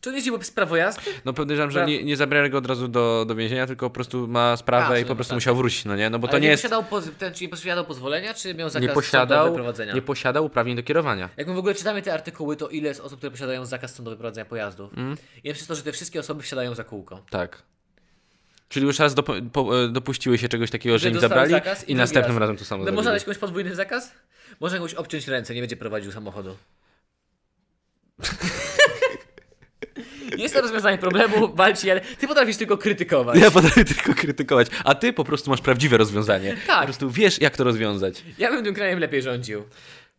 A: Czy on jeździł bez prawo jazdy?
B: No podejrzewam, że
A: Pra-
B: nie, nie zabrali go od razu do, do więzienia, tylko po prostu ma sprawę
A: A,
B: i po prostu
A: tak.
B: musiał wrócić, no nie? No bo
A: Ale
B: to nie jest...
A: Posiadał poz- ten, czyli nie posiadał pozwolenia, czy miał zakaz
B: Nie
A: sądu
B: posiadał,
A: wyprowadzenia?
B: nie posiadał uprawnień do kierowania.
A: Jak my w ogóle czytamy te artykuły, to ile jest osób, które posiadają zakaz sądu wyprowadzenia pojazdów?
B: Mm.
A: I przez to, że te wszystkie osoby wsiadają za kółko.
B: Tak. Czyli już raz dopo- po, e, dopuściły się czegoś takiego, że
A: Że
B: im
A: dostał
B: zabrali
A: zakaz i
B: i
A: drugi
B: następnym
A: raz.
B: razem to samo
A: No można dać
B: zrobili.
A: komuś podwójny zakaz? Można komuś obciąć ręce, [LAUGHS] nie będzie prowadził samochodu. Jest to rozwiązanie problemu, walczy, ale ty potrafisz tylko krytykować.
B: [LAUGHS] Ja potrafię tylko krytykować, a ty po prostu masz prawdziwe
A: [LAUGHS]
B: rozwiązanie.
A: Tak.
B: Po prostu wiesz, jak to rozwiązać.
A: Ja bym tym krajem lepiej rządził.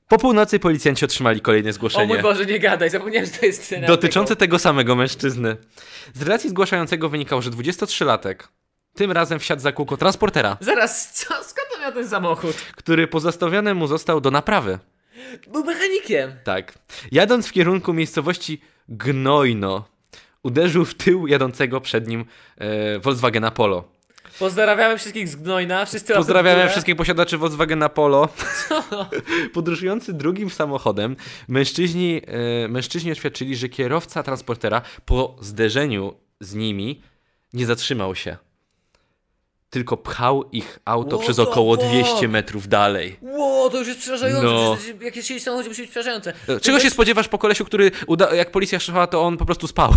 B: Po północy policjanci otrzymali kolejne
A: O
B: zgłoszenie.
A: mój Boże, nie gadaj, zapomniałem, że to jest scena.
B: dotyczące tego samego mężczyzny. Z relacji zgłaszającego wynikało, że 23-latek tym razem wsiadł za kółko transportera,
A: Tego. Zaraz, co? skąd on miał ten samochód?
B: który pozostawiony mu został do naprawy.
A: Był mechanikiem.
B: Tak. Jadąc w kierunku miejscowości Gnojno, uderzył w tył jadącego przed nim e, Volkswagena Polo.
A: Pozdrawiamy wszystkich z Gnojna, wszyscy łapy w
B: Pozdrawiamy
A: górę.
B: wszystkich posiadaczy Volkswagena Polo. [LAUGHS] Podróżujący drugim samochodem, mężczyźni, e, mężczyźni oświadczyli, że kierowca transportera po zderzeniu z nimi nie zatrzymał się. Tylko pchał ich auto
A: What
B: przez
A: the
B: około
A: fuck?
B: 200 metrów dalej.
A: [LAUGHS] Ło, to już jest przerażające.
B: No.
A: No. Jakieś siedzi w samochodzie musi być przerażające.
B: E, Czego się spodziewasz po kolesiu, który uda- jak policja szła, to on po
A: [LAUGHS]
B: prostu spał.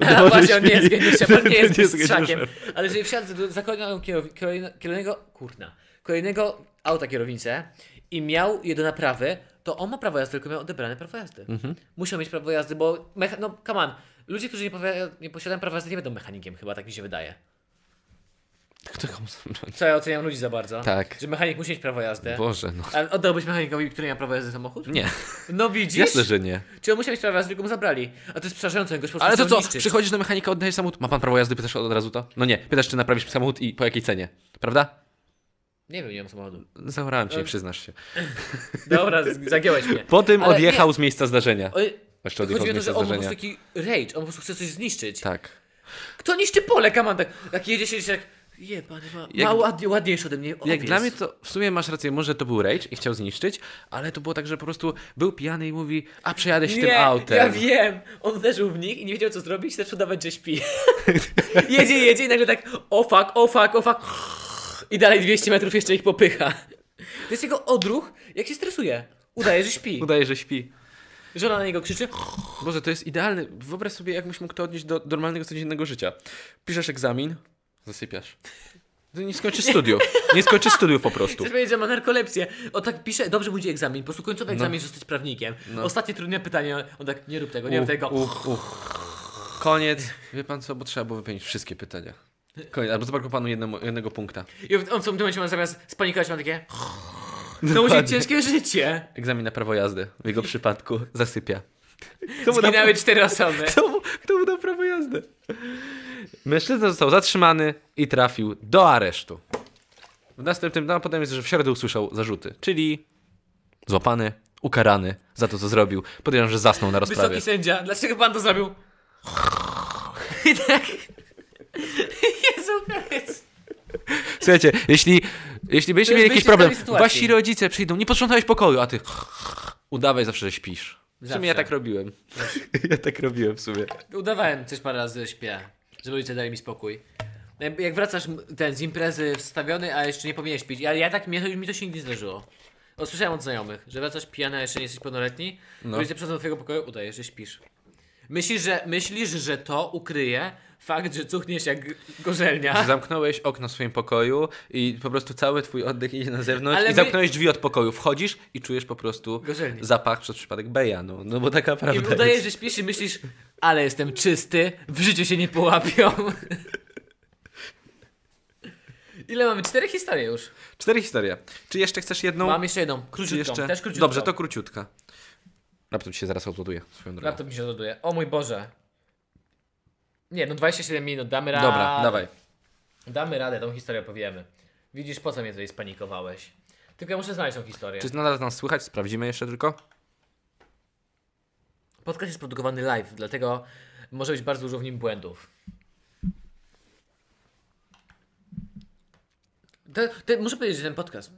A: A, właśnie, on nie
B: śpi.
A: jest geniuszem, on nie
B: [LAUGHS]
A: jest
B: To
A: mistrzakiem.
B: geniuszem.
A: Ale jeżeli wsiadł do, za kolejną, kierow, kolejno, kolejnego, kurna, kolejnego auta kierownicę i miał je do naprawy, to on ma prawo jazdy, tylko miał odebrane prawo jazdy.
B: Mhm.
A: Musiał mieć prawo jazdy, bo, mecha- no come on, ludzie, którzy nie, powia- nie posiadają prawa jazdy nie będą mechanikiem chyba, tak mi się wydaje.
B: Kto komu-
A: Co ja oceniam ludzi za bardzo.
B: Tak.
A: Że mechanik musi mieć prawo jazdy.
B: Boże, no.
A: A oddałbyś mechanikowi, który nie ma prawa jazdy samochód?
B: Nie,
A: No widzisz?
B: jasne, że nie.
A: Czy on musiał mieć prawo jazdy, tylko mu zabrali. A to jest przerażające, goś po prostu
B: Ale to
A: chciał
B: co,
A: niszczyć.
B: przychodzisz do mechanika, oddajesz samochód, ma pan prawo jazdy, pytasz od razu to? No nie, pytasz czy naprawisz samochód i po jakiej cenie, prawda?
A: Nie wiem, nie mam samochodu.
B: Zaorałem
A: E,
B: cię, nie przyznasz się.
A: Dobra, [LAUGHS] z- zagiąłeś mnie.
B: Po tym
A: Ale
B: odjechał z miejsca zdarzenia.
A: Oj,
B: Jeszcze odjechał z
A: y, Chodzi o to,
B: miejsca
A: że on po
B: zdarzenia.
A: prostu taki rage, on po prostu chce coś zniszczyć.
B: Tak.
A: Kto niszczy pole, kaman tak, tak jedzie się tak, jebany ma,
B: Jak-
A: ma ładnie, ładniejszy ode mnie
B: Jak
A: owiec.
B: dla mnie to, w sumie masz rację, może to był rage i chciał zniszczyć, ale to było tak, że po prostu był pijany i mówi, a przejadę się
A: nie,
B: tym autem.
A: ja wiem, on uderzył w nich i nie wiedział co zrobić, zaczął dawać, że
B: [LAUGHS]
A: śpi. jedzie, jedzie i nagle tak, o fuck, o fuck, o fuck, i dalej 200 metrów jeszcze ich popycha. To jest jego odruch, jak się stresuje. Udaje, że śpi.
B: Udaje, że śpi.
A: Żona na niego krzyczy,
B: Boże, to jest idealny, wyobraź sobie, jakbyś mógł to odnieść do normalnego, codziennego życia. Piszesz egzamin, zasypiasz. Ty Nie skończysz studiów. Nie skończysz studiów po prostu.
A: Chcesz powiedzieć, że ma narkolepsję. O tak pisze, dobrze będzie egzamin, po prostu
B: No.
A: końcowy egzamin, żeby zostać prawnikiem. Ostatnie trudne pytanie, on tak, nie rób tego, nie rób tego.
B: u. Koniec. Wie pan co, bo trzeba było wypełnić wszystkie pytania. Koniec, albo zabrakło panu jednemu, jednego punkta.
A: I on w on w tym momencie ma zamiast spanikować, ma takie... To musi być ciężkie
B: [LAUGHS]
A: życie.
B: Egzamin na prawo jazdy. W jego przypadku zasypia. Kto mu, da,
A: Zginęły cztery
B: [LAUGHS]
A: osoby.
B: kto, mu, kto mu da prawo jazdy? Mężczyzna został zatrzymany i trafił do aresztu. W następnym dniu potem jest, że w środę usłyszał zarzuty, czyli złapany, ukarany za to, co zrobił. Podejrzewam, że zasnął na rozprawie.
A: Wysoki sędzia, dlaczego pan to zrobił? [LAUGHS] I tak... [LAUGHS] Jezu, Chrystus.
B: Słuchajcie, jeśli, jeśli będziecie
A: To jest
B: mieli jakiś
A: wyjście z
B: problem,
A: całej sytuacji.
B: wasi rodzice przyjdą, nie posprzątałeś pokoju, a ty udawaj zawsze, że śpisz. W sumie
A: Zawsze.
B: ja tak robiłem. [LAUGHS] Ja tak robiłem w sumie.
A: Udawałem coś parę razy, że śpię, żeby ludzie dali mi spokój. No jakby- Jak wracasz m- ten z imprezy wstawiony, a jeszcze nie powinieneś pić. Ja, ja tak, mi, mi to się nigdy nie zdarzyło. O, Słyszałem od znajomych, że wracasz pijany, a jeszcze nie jesteś pełnoletni. No. Ludzie przychodzą do twojego pokoju, udajesz, że śpisz. Myślisz, że, myślisz, że to ukryje fakt, że cuchniesz jak gorzelnia.
B: Zamknąłeś okno w swoim pokoju i po prostu cały twój oddech idzie na zewnątrz
A: Ale
B: i
A: my-
B: zamknąłeś drzwi od pokoju. Wchodzisz i czujesz po prostu
A: Gorzelnik.
B: zapach przez przypadek beja, no, no bo taka
A: I
B: prawda
A: udajesz,
B: jest.
A: że śpisz i myślisz, ale jestem czysty, w życiu się nie połapią. [LAUGHS] Ile mamy? Cztery historie już.
B: Cztery historie. Czy jeszcze chcesz jedną?
A: Mam jeszcze jedną,
B: Czy
A: króciutką,
B: No. jeszcze?
A: też króciutką.
B: Dobrze, to króciutka. Laptop ci się zaraz odładuje. Swoją drogą.
A: Laptop mi się loduje. O mój Boże. Nie, no 27 minut, damy radę.
B: Dobra, dawaj.
A: Damy radę, tą historię opowiemy. Widzisz, po co mnie tutaj spanikowałeś. Tylko ja muszę znaleźć tą historię.
B: Czy nadal nas słychać? Sprawdzimy jeszcze tylko.
A: Podcast jest produkowany live, dlatego może być bardzo dużo w nim błędów. To, to muszę powiedzieć, że ten podcast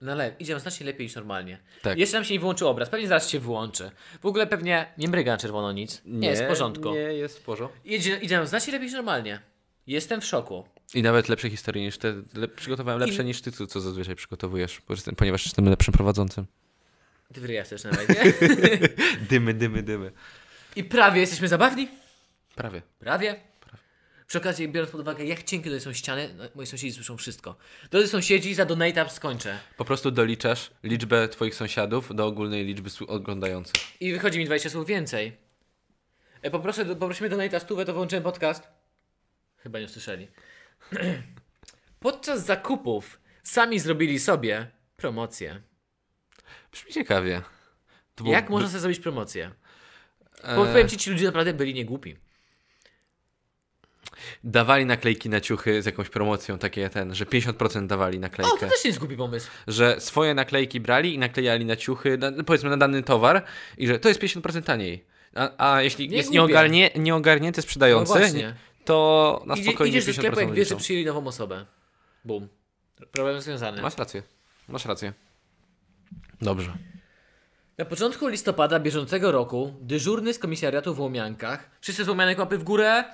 A: na live idzie nam znacznie lepiej niż normalnie.
B: Tak.
A: Jeszcze nam się nie wyłączył obraz, pewnie zaraz się wyłączy. W ogóle pewnie nie mryga na czerwono nic. Nie, jest w porządku.
B: Nie, jest w porządku.
A: Idzie, idzie nam znacznie lepiej niż normalnie. Jestem w szoku.
B: I nawet lepsze historie niż te. Le, przygotowałem lepsze niż ty, co- co zazwyczaj przygotowujesz, bo jestem, ponieważ jestem lepszym prowadzącym.
A: Ty wyjaśniasz na razie.
B: Dymy, dymy, dymy.
A: [LAUGHS] I prawie jesteśmy zabawni.
B: Prawie.
A: Prawie. Przy okazji, biorąc pod uwagę, jak cienkie tutaj są ściany, no, moi sąsiedzi słyszą wszystko. Drodzy sąsiedzi, za donate'a skończę.
B: Po prostu doliczasz liczbę twoich sąsiadów do ogólnej liczby słu- oglądających.
A: I wychodzi mi 20 słów więcej. E, Poproszę, poprosimy Donata stówę, to wyłączymy podcast. Chyba nie usłyszeli. [CLEARS THROAT] Podczas zakupów sami zrobili sobie promocję.
B: Brzmi ciekawie. To było-
A: Jak można sobie zrobić promocję?
B: e,
A: Bo powiem ci, ci ludzie naprawdę byli niegłupi.
B: Dawali naklejki na ciuchy z jakąś promocją, takie ten, że 50% dawali
A: O,
B: naklejkę.
A: to też nie jest głupi pomysł.
B: Że swoje naklejki brali i naklejali na ciuchy, na, powiedzmy na dany towar i że to jest 50% taniej. A, a jeśli
A: Nie
B: jest
A: głupie.
B: nieogarnie, nieogarnięty
A: No
B: sprzedający,
A: właśnie.
B: to na
A: Idzie,
B: spokojnie
A: idziesz do
B: 50%
A: sklepu, jak wiesz, że
B: liczą.
A: przyjęli nową osobę. Bum. Problem rozwiązany.
B: Masz rację. Masz rację. Dobrze.
A: Na początku listopada bieżącego roku dyżurny z komisariatu w Łomiankach, wszyscy z Łomianek łapy w górę,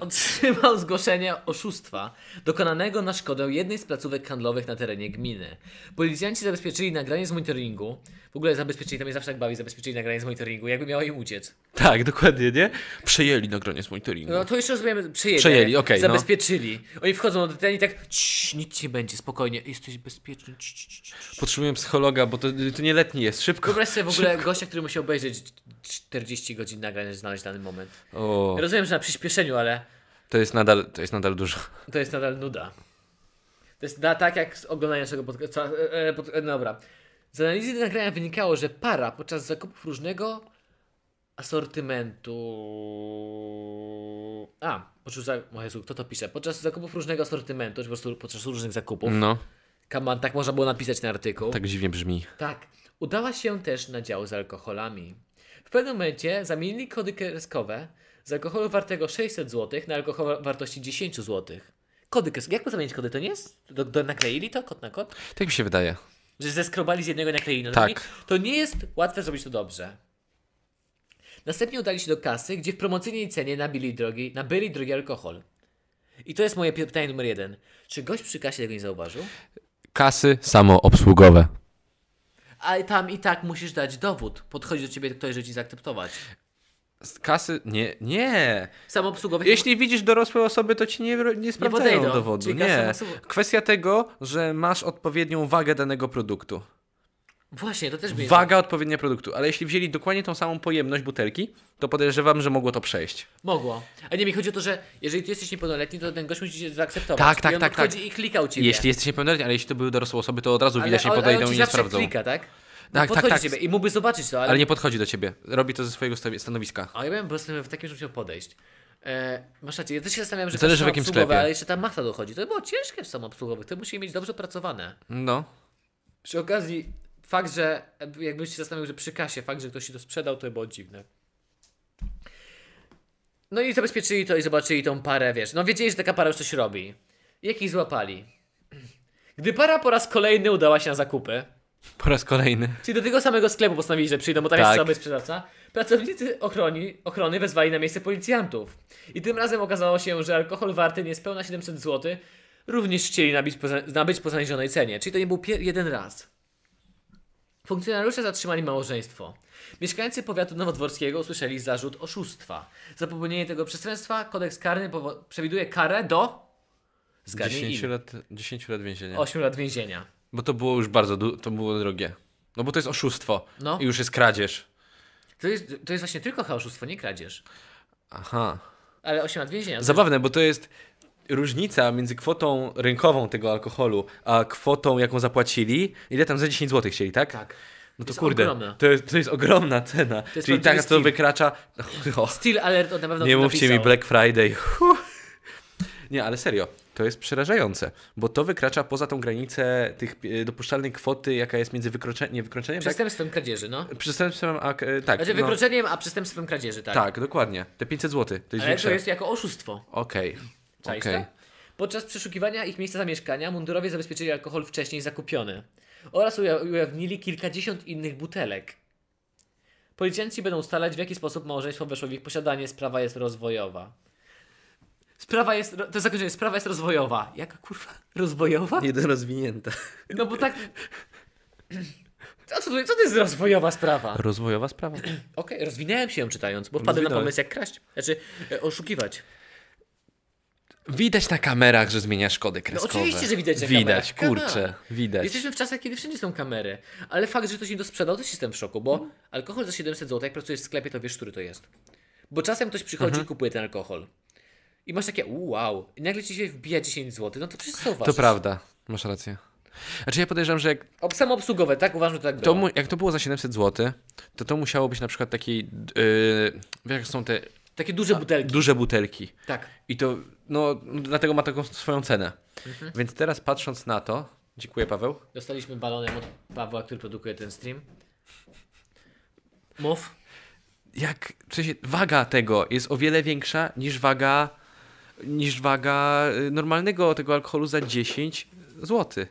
A: otrzymał zgłoszenie oszustwa dokonanego na szkodę jednej z placówek handlowych na terenie gminy. Policjanci zabezpieczyli nagranie z monitoringu. W ogóle zabezpieczyli, to mnie zawsze tak bawi, zabezpieczyli nagranie z monitoringu, jakby miało im uciec.
B: Tak, dokładnie, nie? Przejęli nagranie z monitoringu.
A: No to jeszcze rozumiemy, przejęli.
B: Przejęli, okej, no.
A: Zabezpieczyli. Oni wchodzą do terenu i tak, "Ciii, nic ci nie będzie, spokojnie, jesteś bezpieczny. Ciii, ciii, ciii, ciii".
B: Potrzebuję psychologa, bo to, to nieletni jest. Szybko.
A: Wyobraź sobie w ogóle gościa, który musi obejrzeć 40 godzin nagrań, żeby znaleźć dany moment.
B: O,
A: Rozumiem, że na przyspieszeniu, ale
B: to jest nadal, to jest nadal dużo.
A: to jest nadal nuda. To jest na, tak jak z oglądania naszego podcastu. E, e, pod, e, dobra. Z analizy nagrania wynikało, że para podczas zakupów różnego asortymentu. A, podczas. za- O Jezu, kto to pisze? Podczas zakupów różnego asortymentu, czy po prostu podczas różnych zakupów.
B: No,
A: Kaman, tak można było napisać na artykuł.
B: tak dziwnie brzmi.
A: Tak, udała się też na dział z alkoholami. W pewnym momencie zamienili kody kreskowe z alkoholu wartego 600 zł na alkohol wartości 10 zł. Kody kreskowe. Jak zamienić kody? To nie jest? Do, do, nakleili to kod na kod?
B: Tak mi się wydaje.
A: Że zeskrobali z jednego i nakleili na
B: Tak.
A: drugi? To nie jest łatwe zrobić to dobrze. Następnie udali się do kasy, gdzie w promocyjnej cenie nabili drogi, nabyli drogi alkohol. I to jest moje pi- pytanie numer jeden. Czy gość przy kasie tego nie zauważył?
B: Kasy samoobsługowe.
A: Ale tam i tak musisz dać dowód. Podchodzi do ciebie ktoś, żeby ci zaakceptować.
B: Z Kasy? Nie, nie.
A: Samoobsługowych.
B: Jeśli widzisz dorosłe osoby, to ci nie, nie sprawdzają
A: podejdą,
B: dowodu.
A: czyli
B: Nie.
A: kasy samoobsłu-
B: Kwestia tego, że masz odpowiednią wagę danego produktu.
A: Właśnie, to też by
B: Waga odpowiednia produktu. Ale jeśli wzięli dokładnie tą samą pojemność butelki, to podejrzewam, że mogło to przejść.
A: mogło. A nie, mi chodzi o to, że jeżeli ty jesteś niepełnoletni, to ten gość musi cię zaakceptować.
B: Tak, tak,
A: I on
B: tak,
A: podchodzi
B: tak.
A: i klikał ciebie.
B: Jeśli jesteś niepełnoletni, ale jeśli to były dorosłe osoby, to od razu
A: ale,
B: widać, nie
A: ale- ale
B: podejdą
A: on ci
B: i nie
A: zawsze
B: sprawdzą.
A: klika, tak? No
B: tak,
A: podchodzi
B: tak.
A: ciebie i mógłby zobaczyć to, ale...
B: Ale nie podchodzi do ciebie. Robi to ze swojego sta- stanowiska.
A: A ja bym po prostu w takim, że musiał podejść. E, masz rację, ja też się zastanawiam, że
B: Zależy
A: kasy
B: w jakim
A: samoobsługowe,
B: sklepie.
A: Ale jeszcze ta masa dochodzi. To było ciężkie w samoobsługowych, to musi mieć dobrze opracowane.
B: No.
A: Przy okazji, fakt, że jakbyś się zastanowił, że przy kasie, fakt, że ktoś ci to sprzedał, to by było dziwne. No i zabezpieczyli to i zobaczyli tą parę, wiesz. No wiedzieli, że taka para już coś robi. Jak ich złapali? Gdy para po raz kolejny udała się na zakupy,
B: Po raz kolejny.
A: czyli do tego samego sklepu postanowili, że przyjdą, bo tam jest
B: Tak.
A: słaby sprzedawca, pracownicy ochroni, ochrony wezwali na miejsce policjantów. I tym razem okazało się, że alkohol warty niespełna 700 zł również chcieli nabić po, za- nabyć po zaniżonej cenie, czyli to nie był pier- jeden raz. Funkcjonariusze zatrzymali małżeństwo. Mieszkańcy powiatu nowodworskiego usłyszeli zarzut oszustwa. Za popełnienie tego przestępstwa kodeks karny powo- przewiduje karę do... Zgadnij
B: 10
A: ile?
B: lat, 10 lat więzienia.
A: 8 lat więzienia.
B: Bo to było już bardzo, du- to było drogie. No bo to jest oszustwo.
A: No.
B: I już jest kradzież.
A: To jest, to jest właśnie tylko oszustwo, nie kradzież.
B: Aha.
A: Ale 8 lat więzienia. to
B: Zabawne, bo to jest różnica między kwotą rynkową tego alkoholu, a kwotą, jaką zapłacili. Ile tam za 10 zł chcieli, tak?
A: Tak.
B: No to
A: jest
B: kurde,
A: ogromna.
B: To, jest, to jest ogromna cena.
A: jest
B: Czyli tak,
A: prawdziwy
B: to
A: steal.
B: wykracza. [LAUGHS] O,
A: Steel Alert od na pewno
B: nie
A: to
B: mówcie mi
A: napisał.
B: Black Friday. Huh. Nie, ale serio, to jest przerażające, bo to wykracza poza tą granicę tych e, dopuszczalnej kwoty, jaka jest między wykroczeniem, nie wykroczeniem, tak?
A: Przestępstwem kradzieży, no.
B: Przestępstwem, a, e, tak.
A: Znaczy
B: no.
A: wykroczeniem, a przestępstwem kradzieży, tak.
B: Tak, dokładnie. Te 500 zł. To jest
A: Ale to
B: większe.
A: jest jako oszustwo.
B: Okej.
A: Czaisz
B: Okej.
A: to? Podczas przeszukiwania ich miejsca zamieszkania mundurowie zabezpieczyli alkohol wcześniej zakupiony oraz uja- ujawnili kilkadziesiąt innych butelek. Policjanci będą ustalać, w jaki sposób małżeństwo weszło w ich posiadanie. Sprawa jest rozwojowa. Sprawa jest. ro- To jest zakończenie. Sprawa jest rozwojowa. Jaka kurwa? Rozwojowa?
B: Jeden rozwinięta.
A: No bo tak. [CLEARS THROAT] Co, co, to- co to jest rozwojowa sprawa?
B: Rozwojowa sprawa.
A: Okej, rozwinąłem się ją czytając, bo wpadłem na
B: No Rozwinąłeś.
A: pomysł jak kraść. Znaczy, e, oszukiwać.
B: Widać na kamerach, że zmieniasz kody kreskowe.
A: No oczywiście, że widać na
B: Widać,
A: kamerach.
B: kurczę, widać.
A: Jesteśmy w czasach, kiedy wszędzie są kamery, ale fakt, że ktoś mi to sprzedał, też jestem w szoku, bo alkohol za 700 zł, jak pracujesz w sklepie, to wiesz, który to jest. Bo czasem ktoś przychodzi
B: Mhm.
A: i kupuje ten alkohol. I masz takie, wow, i nagle ci się wbija 10 zł, no to przecież co uważasz?
B: To prawda, masz rację. Znaczy ja podejrzewam, że jak
A: Ob- Samoobsługowe, tak? Uważam, że tak
B: to,
A: było.
B: mu, jak to było za 700 zł, to to musiało być na przykład taki, yy, wiesz jak są te
A: Takie duże butelki.
B: duże butelki.
A: Tak.
B: I to, no, dlatego ma taką swoją cenę. Więc teraz patrząc na to, dziękuję Paweł,
A: Dostaliśmy balonem od Pawła, który produkuje ten stream. Mów.
B: jak, w sensie, waga tego jest o wiele większa niż waga, niż waga y, normalnego tego alkoholu za 10 zł.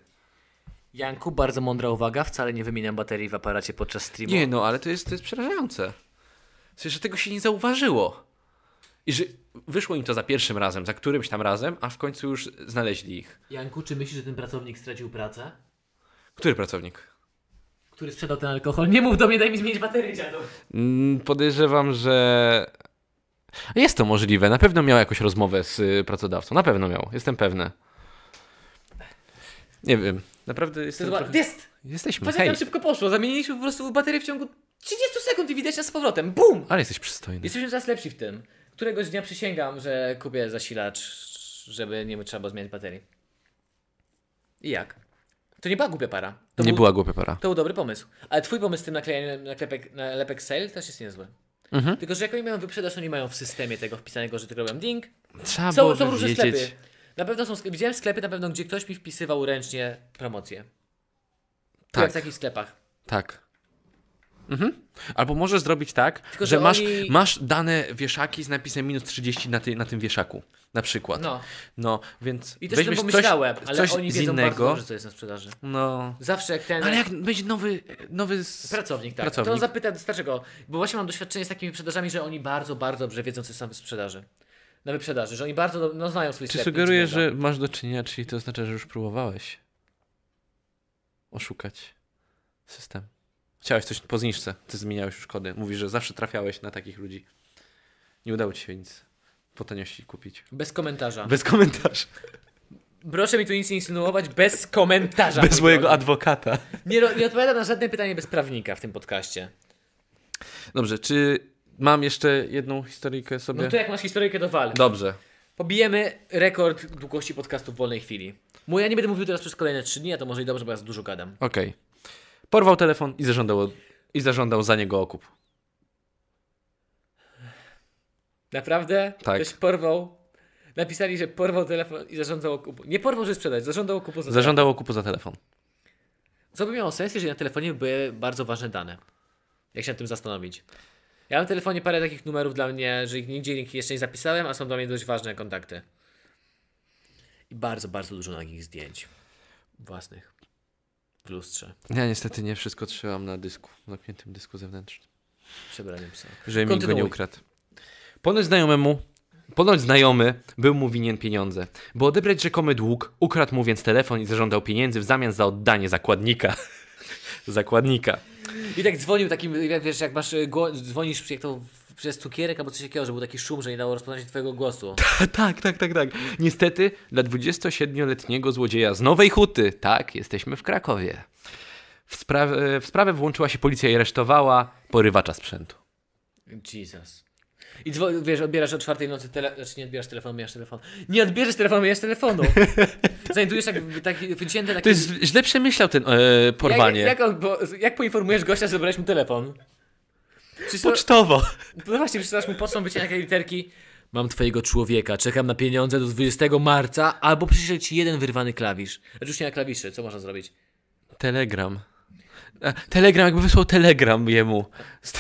A: Janku, bardzo mądra uwaga, wcale nie wymieniam baterii w aparacie podczas streamu.
B: Nie no, ale to jest, to jest przerażające. W sensie, że tego się nie zauważyło. I że wyszło im to za pierwszym razem, za którymś tam razem, a w końcu już znaleźli ich.
A: Janku, czy myślisz, że ten pracownik stracił pracę?
B: Który pracownik?
A: Który sprzedał ten alkohol? Nie mów do mnie, daj mi zmienić baterię, dziadu.
B: Mm, Podejrzewam, że. Jest to możliwe. Na pewno miał jakąś rozmowę z y, pracodawcą. Na pewno miał. Jestem pewny. Nie wiem. Naprawdę jestem trochę...
A: Jest!
B: Jesteśmy.
A: Patrz
B: Hej.
A: jak nam szybko poszło, zamieniliśmy po prostu baterię w ciągu 30 sekund i widać nas z powrotem. BUM!
B: Ale jesteś przystojny.
A: Jesteśmy coraz lepsi w tym. Któregoś dnia przysięgam, że kupię zasilacz, żeby nie trzeba było zmieniać baterii. I jak? To nie była głupia para. To
B: Nie
A: był,
B: była głupia para.
A: To był dobry pomysł. Ale twój pomysł z tym naklejaniem naklepek, nalepek sale też jest niezły.
B: Mhm.
A: Tylko, że jak oni mają wyprzedaż, oni mają w systemie tego wpisanego, że tylko robią ding.
B: Trzeba
A: Są,
B: było
A: są różne
B: wiedzieć.
A: sklepy. Na pewno są sklepy. Widziałem sklepy na pewno, gdzie ktoś mi wpisywał ręcznie promocję. Tak. Jak
B: Tak.
A: w takich sklepach.
B: Tak. Mhm. Albo możesz zrobić tak,
A: Tylko,
B: że
A: że
B: masz,
A: oni-
B: masz dane wieszaki z napisem minus 30 na, ty, na tym wieszaku. Na przykład. No,
A: No.
B: więc
A: I też o tym
B: weźmiesz
A: pomyślałem,
B: coś,
A: ale
B: coś
A: oni
B: z
A: wiedzą bardzo
B: innego.
A: dobrze, co jest na sprzedaży.
B: No.
A: Zawsze jak ten
B: Ale jak będzie nowy, nowy s-
A: pracownik, tak,
B: pracownik.
A: to on zapyta, dlaczego? Bo właśnie mam doświadczenie z takimi sprzedażami, że oni bardzo, bardzo dobrze wiedzą, co jest na sprzedaży. Na wyprzedaży, że oni bardzo do- no, znają swój
B: Czy
A: sklep.
B: sugerujesz,
A: niczego.
B: że masz do czynienia, czyli to oznacza, że już próbowałeś oszukać system? Chciałeś coś po zniżce, ty zmieniałeś już kody. Mówisz, że zawsze trafiałeś na takich ludzi. Nie udało ci się nic po taniości kupić.
A: Bez komentarza.
B: Bez komentarzy.
A: Proszę mi tu nic nie insynuować, bez komentarza.
B: Bez
A: mój
B: mojego
A: drogi.
B: adwokata.
A: Nie, ro- nie odpowiadam na żadne pytanie bez prawnika w tym podcaście.
B: Dobrze, czy mam jeszcze jedną historyjkę sobie?
A: No to jak masz historyjkę, to wal.
B: Dobrze.
A: Pobijemy rekord długości podcastu w wolnej chwili. Mój, ja nie będę mówił teraz przez kolejne 3 dni, a to może i dobrze, bo ja za dużo gadam.
B: Okej. Porwał telefon i zażądał, i zażądał za niego okup.
A: Naprawdę?
B: Tak.
A: Ktoś porwał. Napisali, że porwał telefon i zażądał okupu. Nie porwał, żeby sprzedać, zażądał okupu. Za...
B: Zażądał okupu za telefon.
A: Co by miało sens, jeżeli na telefonie były bardzo ważne dane? Jak się nad tym zastanowić. Ja mam w telefonie parę takich numerów dla mnie, że ich nigdzie ich jeszcze nie zapisałem, a są dla mnie dość ważne kontakty. I bardzo, bardzo dużo nagich zdjęć. Własnych. W lustrze.
B: Ja niestety nie wszystko trzymam na dysku, napiętym dysku zewnętrznym.
A: Przebranie psa.
B: Żeby mi go nie
A: Kontynuuj.
B: ukradł. Ponoć znajomemu, ponoć znajomy był mu winien pieniądze. By odebrać rzekomy dług, ukradł mu więc telefon i zażądał pieniędzy w zamian za oddanie zakładnika. [LAUGHS] zakładnika. [LAUGHS]
A: I tak dzwonił takim, jak wiesz, jak masz, y, gło- dzwonisz jak to w- przez cukierek albo coś takiego, że był taki szum, że nie dało rozpoznać twojego głosu.
B: tak, tak, tak, tak. Niestety dla 27-letniego złodzieja z Nowej Huty, tak, jesteśmy w Krakowie, w, spra- e, w sprawę włączyła się policja i aresztowała porywacza sprzętu.
A: Jesus. I dzwo- wiesz, odbierasz o czwartej nocy tele... Znaczy nie odbierasz telefonu, mijasz telefon. Nie odbierzesz telefonu, mijasz
B: [LAUGHS]
A: telefonu. Znajdujesz tak, taki wycięte takie...
B: To jest źle przemyślał ten e, porwanie.
A: Jak, jak, on- bo, jak poinformujesz gościa, że zabrałeś mu telefon? Przysła...
B: Pocztowo.
A: No właśnie, przysłasz mu pocztą wycięte takie literki. Mam twojego człowieka, czekam na pieniądze do 20 marca, albo przyszedł ci jeden wyrwany klawisz. Znaczy już nie na klawiszy, co można zrobić?
B: Telegram. E, Telegram, jakby wysłał telegram jemu. Z ty-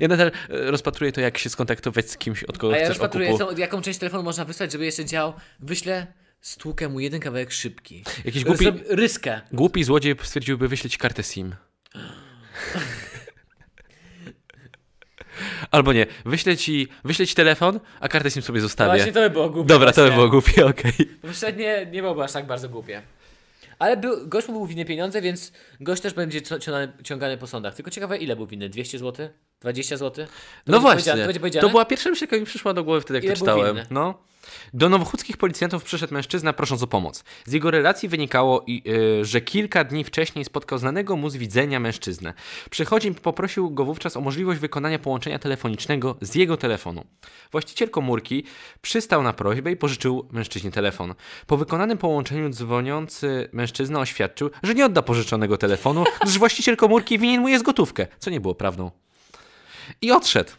B: Ja nadal e, rozpatruję to, jak się skontaktować z kimś, od kogo
A: A ja
B: chcesz
A: rozpatruję,
B: okupu.
A: co, jaką część telefonu można wysłać, żeby jeszcze działał. Wyślę, stłukę mu jeden kawałek szybki.
B: Jakiś głupi-
A: Zrobię Ryskę.
B: Głupi złodziej stwierdziłby wyśleć kartę
A: [GASPS]
B: SIM. Albo nie, wyślę ci, wyślę ci telefon, a kartę SIM sobie zostawię.
A: No Właśnie to by było głupie.
B: Dobra, to by
A: właśnie.
B: było głupie, okej.
A: Poprzednie nie, nie byłoby aż tak bardzo głupie. Ale był, gość mu był winny pieniądze, więc gość też będzie co- ciągany, ciągany po sądach. Tylko ciekawe, ile był winny? 200 zł? 20 zł? To będzie
B: No właśnie.
A: powiedziane- To będzie
B: To
A: powiedziane?
B: była pierwsza myśl, jaka mi przyszła do głowy wtedy, jak
A: Ile
B: to
A: był
B: czytałem.
A: winny?
B: No. Do nowochódzkich policjantów przyszedł mężczyzna prosząc o pomoc. Z jego relacji wynikało, i, y, że kilka dni wcześniej spotkał znanego mu z widzenia mężczyznę. Przychodzi i poprosił go wówczas o możliwość wykonania połączenia telefonicznego z jego telefonu. Właściciel komórki przystał na prośbę i pożyczył mężczyźnie telefon. Po wykonanym połączeniu dzwoniący mężczyzna oświadczył, że nie odda pożyczonego telefonu, gdyż właściciel komórki winien mu jest gotówkę, co nie było prawdą. I odszedł.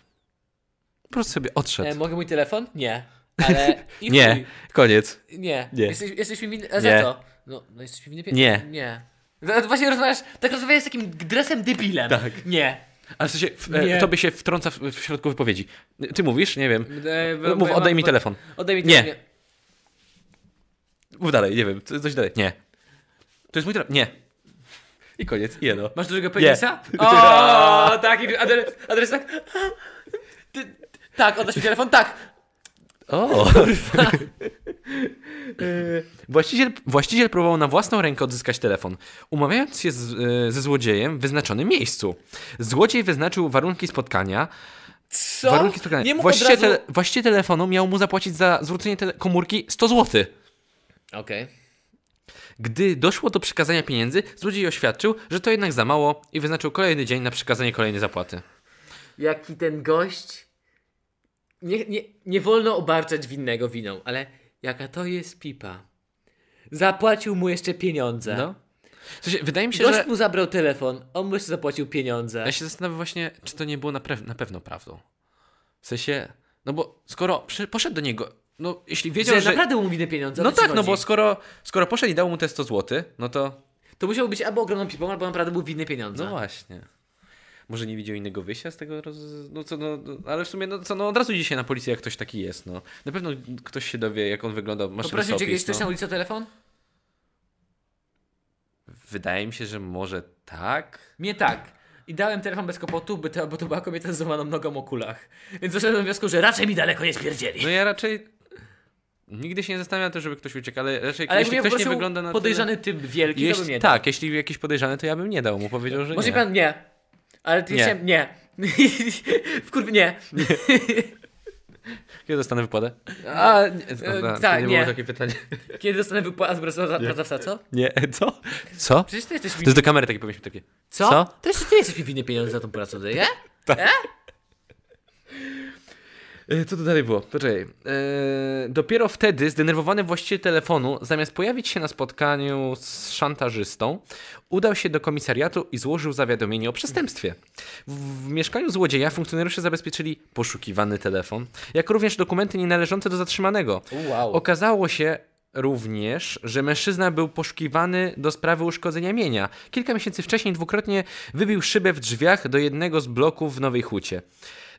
B: Po prostu sobie odszedł.
A: E, mogę mój telefon? Nie. Ale.
B: [LAUGHS]
A: I
B: Nie, koniec.
A: chuj. Nie.
B: Nie.
A: Jesteś, jesteś mi winny. e,
B: Nie.
A: Za co? No, no jesteś mi winny pieniądze.
B: Nie.
A: Nie. No, to właśnie rozmawiasz. Tak rozmawiasz z takim dresem debilem.
B: Tak.
A: Nie.
B: Ale w sensie, w,
A: Nie.
B: e, tobie się wtrąca w, w środku wypowiedzi. Ty mówisz? Nie wiem.
A: E, bo-
B: Mów,
A: bo ja
B: oddaj
A: mam-
B: mi
A: bo-
B: telefon.
A: Oddaj mi
B: Nie.
A: telefon.
B: Mów dalej, nie wiem. Co- Coś dalej. Nie. To jest mój telefon. Nie. I koniec. I jedno.
A: Masz dużego penisa?
B: Nie.
A: O, tak. i Adres, adres tak. Ty, tak, oddasz mi telefon? Tak.
B: [LAUGHS] O! E, właściciel, właściciel próbował na własną rękę odzyskać telefon, umawiając się z, e, ze złodziejem w wyznaczonym miejscu. Złodziej wyznaczył warunki spotkania.
A: Co?
B: Warunki spotkania.
A: Nie mógł od
B: właściciel,
A: razu...
B: tele- właściciel telefonu miał mu zapłacić za zwrócenie tele- komórki 100 złotych.
A: Okej.
B: Gdy doszło do przekazania pieniędzy, złodziej oświadczył, że to jednak za mało i wyznaczył kolejny dzień na przekazanie kolejnej zapłaty.
A: jaki ten gość. Nie, nie, nie wolno obarczać winnego winą, ale jaka to jest pipa. Zapłacił mu jeszcze pieniądze.
B: No. W sensie, wydaje mi się,
A: Gość
B: że...
A: mu zabrał telefon, on mu jeszcze zapłacił pieniądze.
B: Ja się zastanawiam właśnie, czy to nie było na, pre- na pewno prawdą. W sensie, no bo skoro przy- poszedł do niego, no jeśli wiedział,
A: Że,
B: że...
A: naprawdę mu winne pieniądze. o
B: No
A: to ci
B: tak, no
A: chodzi.
B: bo skoro, skoro poszedł i dał mu te 100 zł, no to...
A: To musiał być albo ogromną pipą, albo naprawdę był winny pieniądze.
B: No właśnie. Może nie widział innego wyjścia z tego, roz... no co, no, no, ale w sumie, no co, no od razu idzie się na policję, jak ktoś taki jest, no. Na pewno ktoś się dowie, jak on wygląda, masz
A: Poprosił cię
B: rysopis,
A: kiedyś ktoś
B: no.
A: na ulicy o telefon?
B: Wydaje mi się, że może tak.
A: Mnie tak. I dałem telefon bez kopotu, by to, bo to była kobieta z złamaną nogą o kulach. Więc doszedłem do wniosku, że raczej mi daleko nie spierdzieli.
B: No ja raczej nigdy się nie zastanawiam tym, żeby ktoś uciekł, ale raczej
A: ale
B: jeśli
A: jakby
B: ktoś nie
A: poprosił
B: wygląda na
A: podejrzany typ wielki,
B: tyle,
A: to bym
B: jeśli,
A: nie dał.
B: Tak, jeśli jakiś podejrzany, to ja bym nie dał mu, powiedział, że
A: Może
B: nie.
A: pan nie. Ale ty
B: Nie.
A: nie. nie. [LAUGHS] w kurwie nie.
B: Kiedy dostanę wypłatę? A, nie,
A: E,
B: no,
A: tak,
B: nie,
A: nie.
B: było takie pytanie. [LAUGHS]
A: Kiedy dostanę wypłatę z pracodawca, pracodawca, co?
B: Nie, co? Co? To
A: Przecież ty jesteś mi...
B: jest do kamery takie powinniśmy takie.
A: Co?
B: co?
A: To jeszcze ty jesteś mi winny pieniądze za tą pracę, nie?
B: E, Co to dalej było? Poczekaj. E, dopiero wtedy zdenerwowany właściciel telefonu, zamiast pojawić się na spotkaniu z szantażystą, udał się do komisariatu i złożył zawiadomienie o przestępstwie. W, w mieszkaniu złodzieja funkcjonariusze zabezpieczyli poszukiwany telefon, jak również dokumenty nienależące do zatrzymanego.
A: Wow.
B: Okazało się również, że mężczyzna był poszukiwany do sprawy uszkodzenia mienia. Kilka miesięcy wcześniej dwukrotnie wybił szybę w drzwiach do jednego z bloków w Nowej Hucie.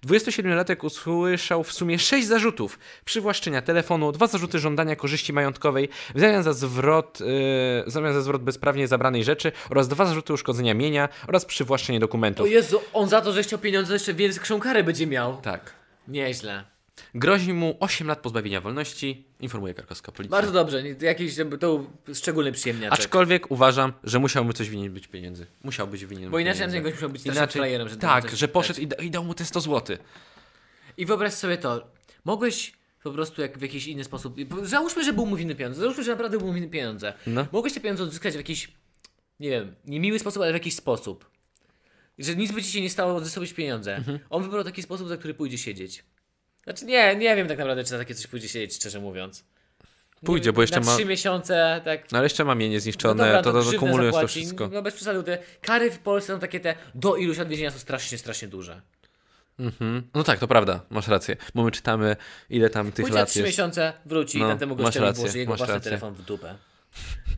B: 27-latek usłyszał w sumie 6 zarzutów: przywłaszczenia telefonu, dwa zarzuty żądania korzyści majątkowej w zamian za zwrot, yy, w zamian za zwrot bezprawnie zabranej rzeczy oraz dwa zarzuty uszkodzenia mienia oraz przywłaszczenie
A: O
B: dokumentów.
A: Jezu, on za to, że chciał pieniądze, jeszcze większą karę będzie miał.
B: Tak.
A: Nieźle.
B: Grozi mu 8 lat pozbawienia wolności, informuje karkowska policja.
A: Bardzo dobrze, nie- jakiś żeby to był szczególny przyjemniaczek.
B: Aczkolwiek uważam, że musiał mu coś winien być pieniędzy. Musiał być winien
A: Bo inaczej
B: pieniędzy.
A: ten gość musiał być strasznym frajerem, że
B: Tak,
A: tam coś-
B: że poszedł i, da, i dał mu te 100 zł.
A: I wyobraź sobie to, mogłeś po prostu jak w jakiś inny sposób, załóżmy, że był mu winny pieniądze, załóżmy, że naprawdę był mu winny pieniądze.
B: No.
A: Mogłeś te pieniądze odzyskać w jakiś, nie wiem, niemiły sposób, ale w jakiś sposób. Że nic by ci się nie stało, odzyskałeś pieniądze.
B: Mhm.
A: On wybrał taki sposób, za który pójdzie siedzieć. Znaczy nie, nie wiem tak naprawdę, czy za takie coś pójdzie siedzieć, szczerze mówiąc. Nie
B: Pójdzie,
A: wiem,
B: bo jeszcze
A: no, na
B: ma-
A: trzy miesiące, tak.
B: No ale jeszcze mam je niezniszczone, to, to,
A: grzywnę
B: kumulując to
A: zapłaci.
B: wszystko.
A: No bez przesady, bo te kary w Polsce są takie te, do iluś lat więzienia są strasznie, strasznie duże.
B: Mhm. No tak, to prawda, masz rację. Bo my czytamy, ile tam tych
A: Pójdzie na
B: lat
A: 3
B: jest.
A: miesiące, wróci
B: No,
A: i temu
B: masz
A: gościowi
B: rację,
A: włoży jego
B: masz
A: własny
B: rację.
A: telefon w dupę.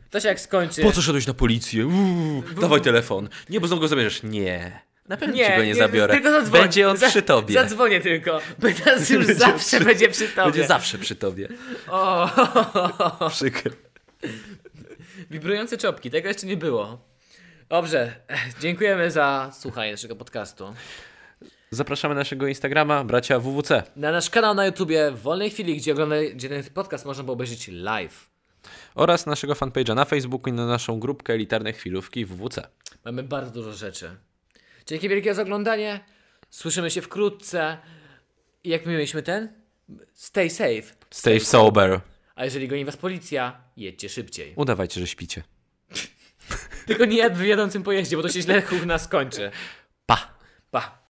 A: To się jak skończy.
B: Po co szedłeś na policję? Uuu, dawaj telefon. Nie, bo znowu go zabierzesz. Nie. Na pewno ci go nie, zabiorę.
A: tylko zadzwoń.
B: Będzie on
A: Za-
B: przy tobie.
A: Zadzwonię tylko.
B: [LAUGHS]
A: Teraz już zawsze będzie przy tobie.
B: Będzie zawsze przy tobie.
A: O, [LAUGHS] No.
B: Przykro.
A: wibrujące czopki, tego jeszcze nie było. Dobrze, eh, dziękujemy za słuchanie naszego podcastu.
B: Zapraszamy naszego Instagrama, bracia WWC.
A: Na nasz kanał na YouTubie w wolnej chwili, gdzie, ogląda, gdzie ten podcast można było obejrzeć live.
B: Oraz naszego fanpage'a na Facebooku i na naszą grupkę Elitarne Chwilówki WWC.
A: Mamy bardzo dużo rzeczy. Dzięki wielkie za oglądanie. Słyszymy się wkrótce. I jak my mieliśmy ten? Stay safe.
B: Stay sober.
A: A jeżeli goni was policja, jedźcie szybciej.
B: Udawajcie, że śpicie.
A: [LAUGHS] Tylko nie w jadącym pojeździe, bo to się źle u nas skończy.
B: Pa!
A: Pa.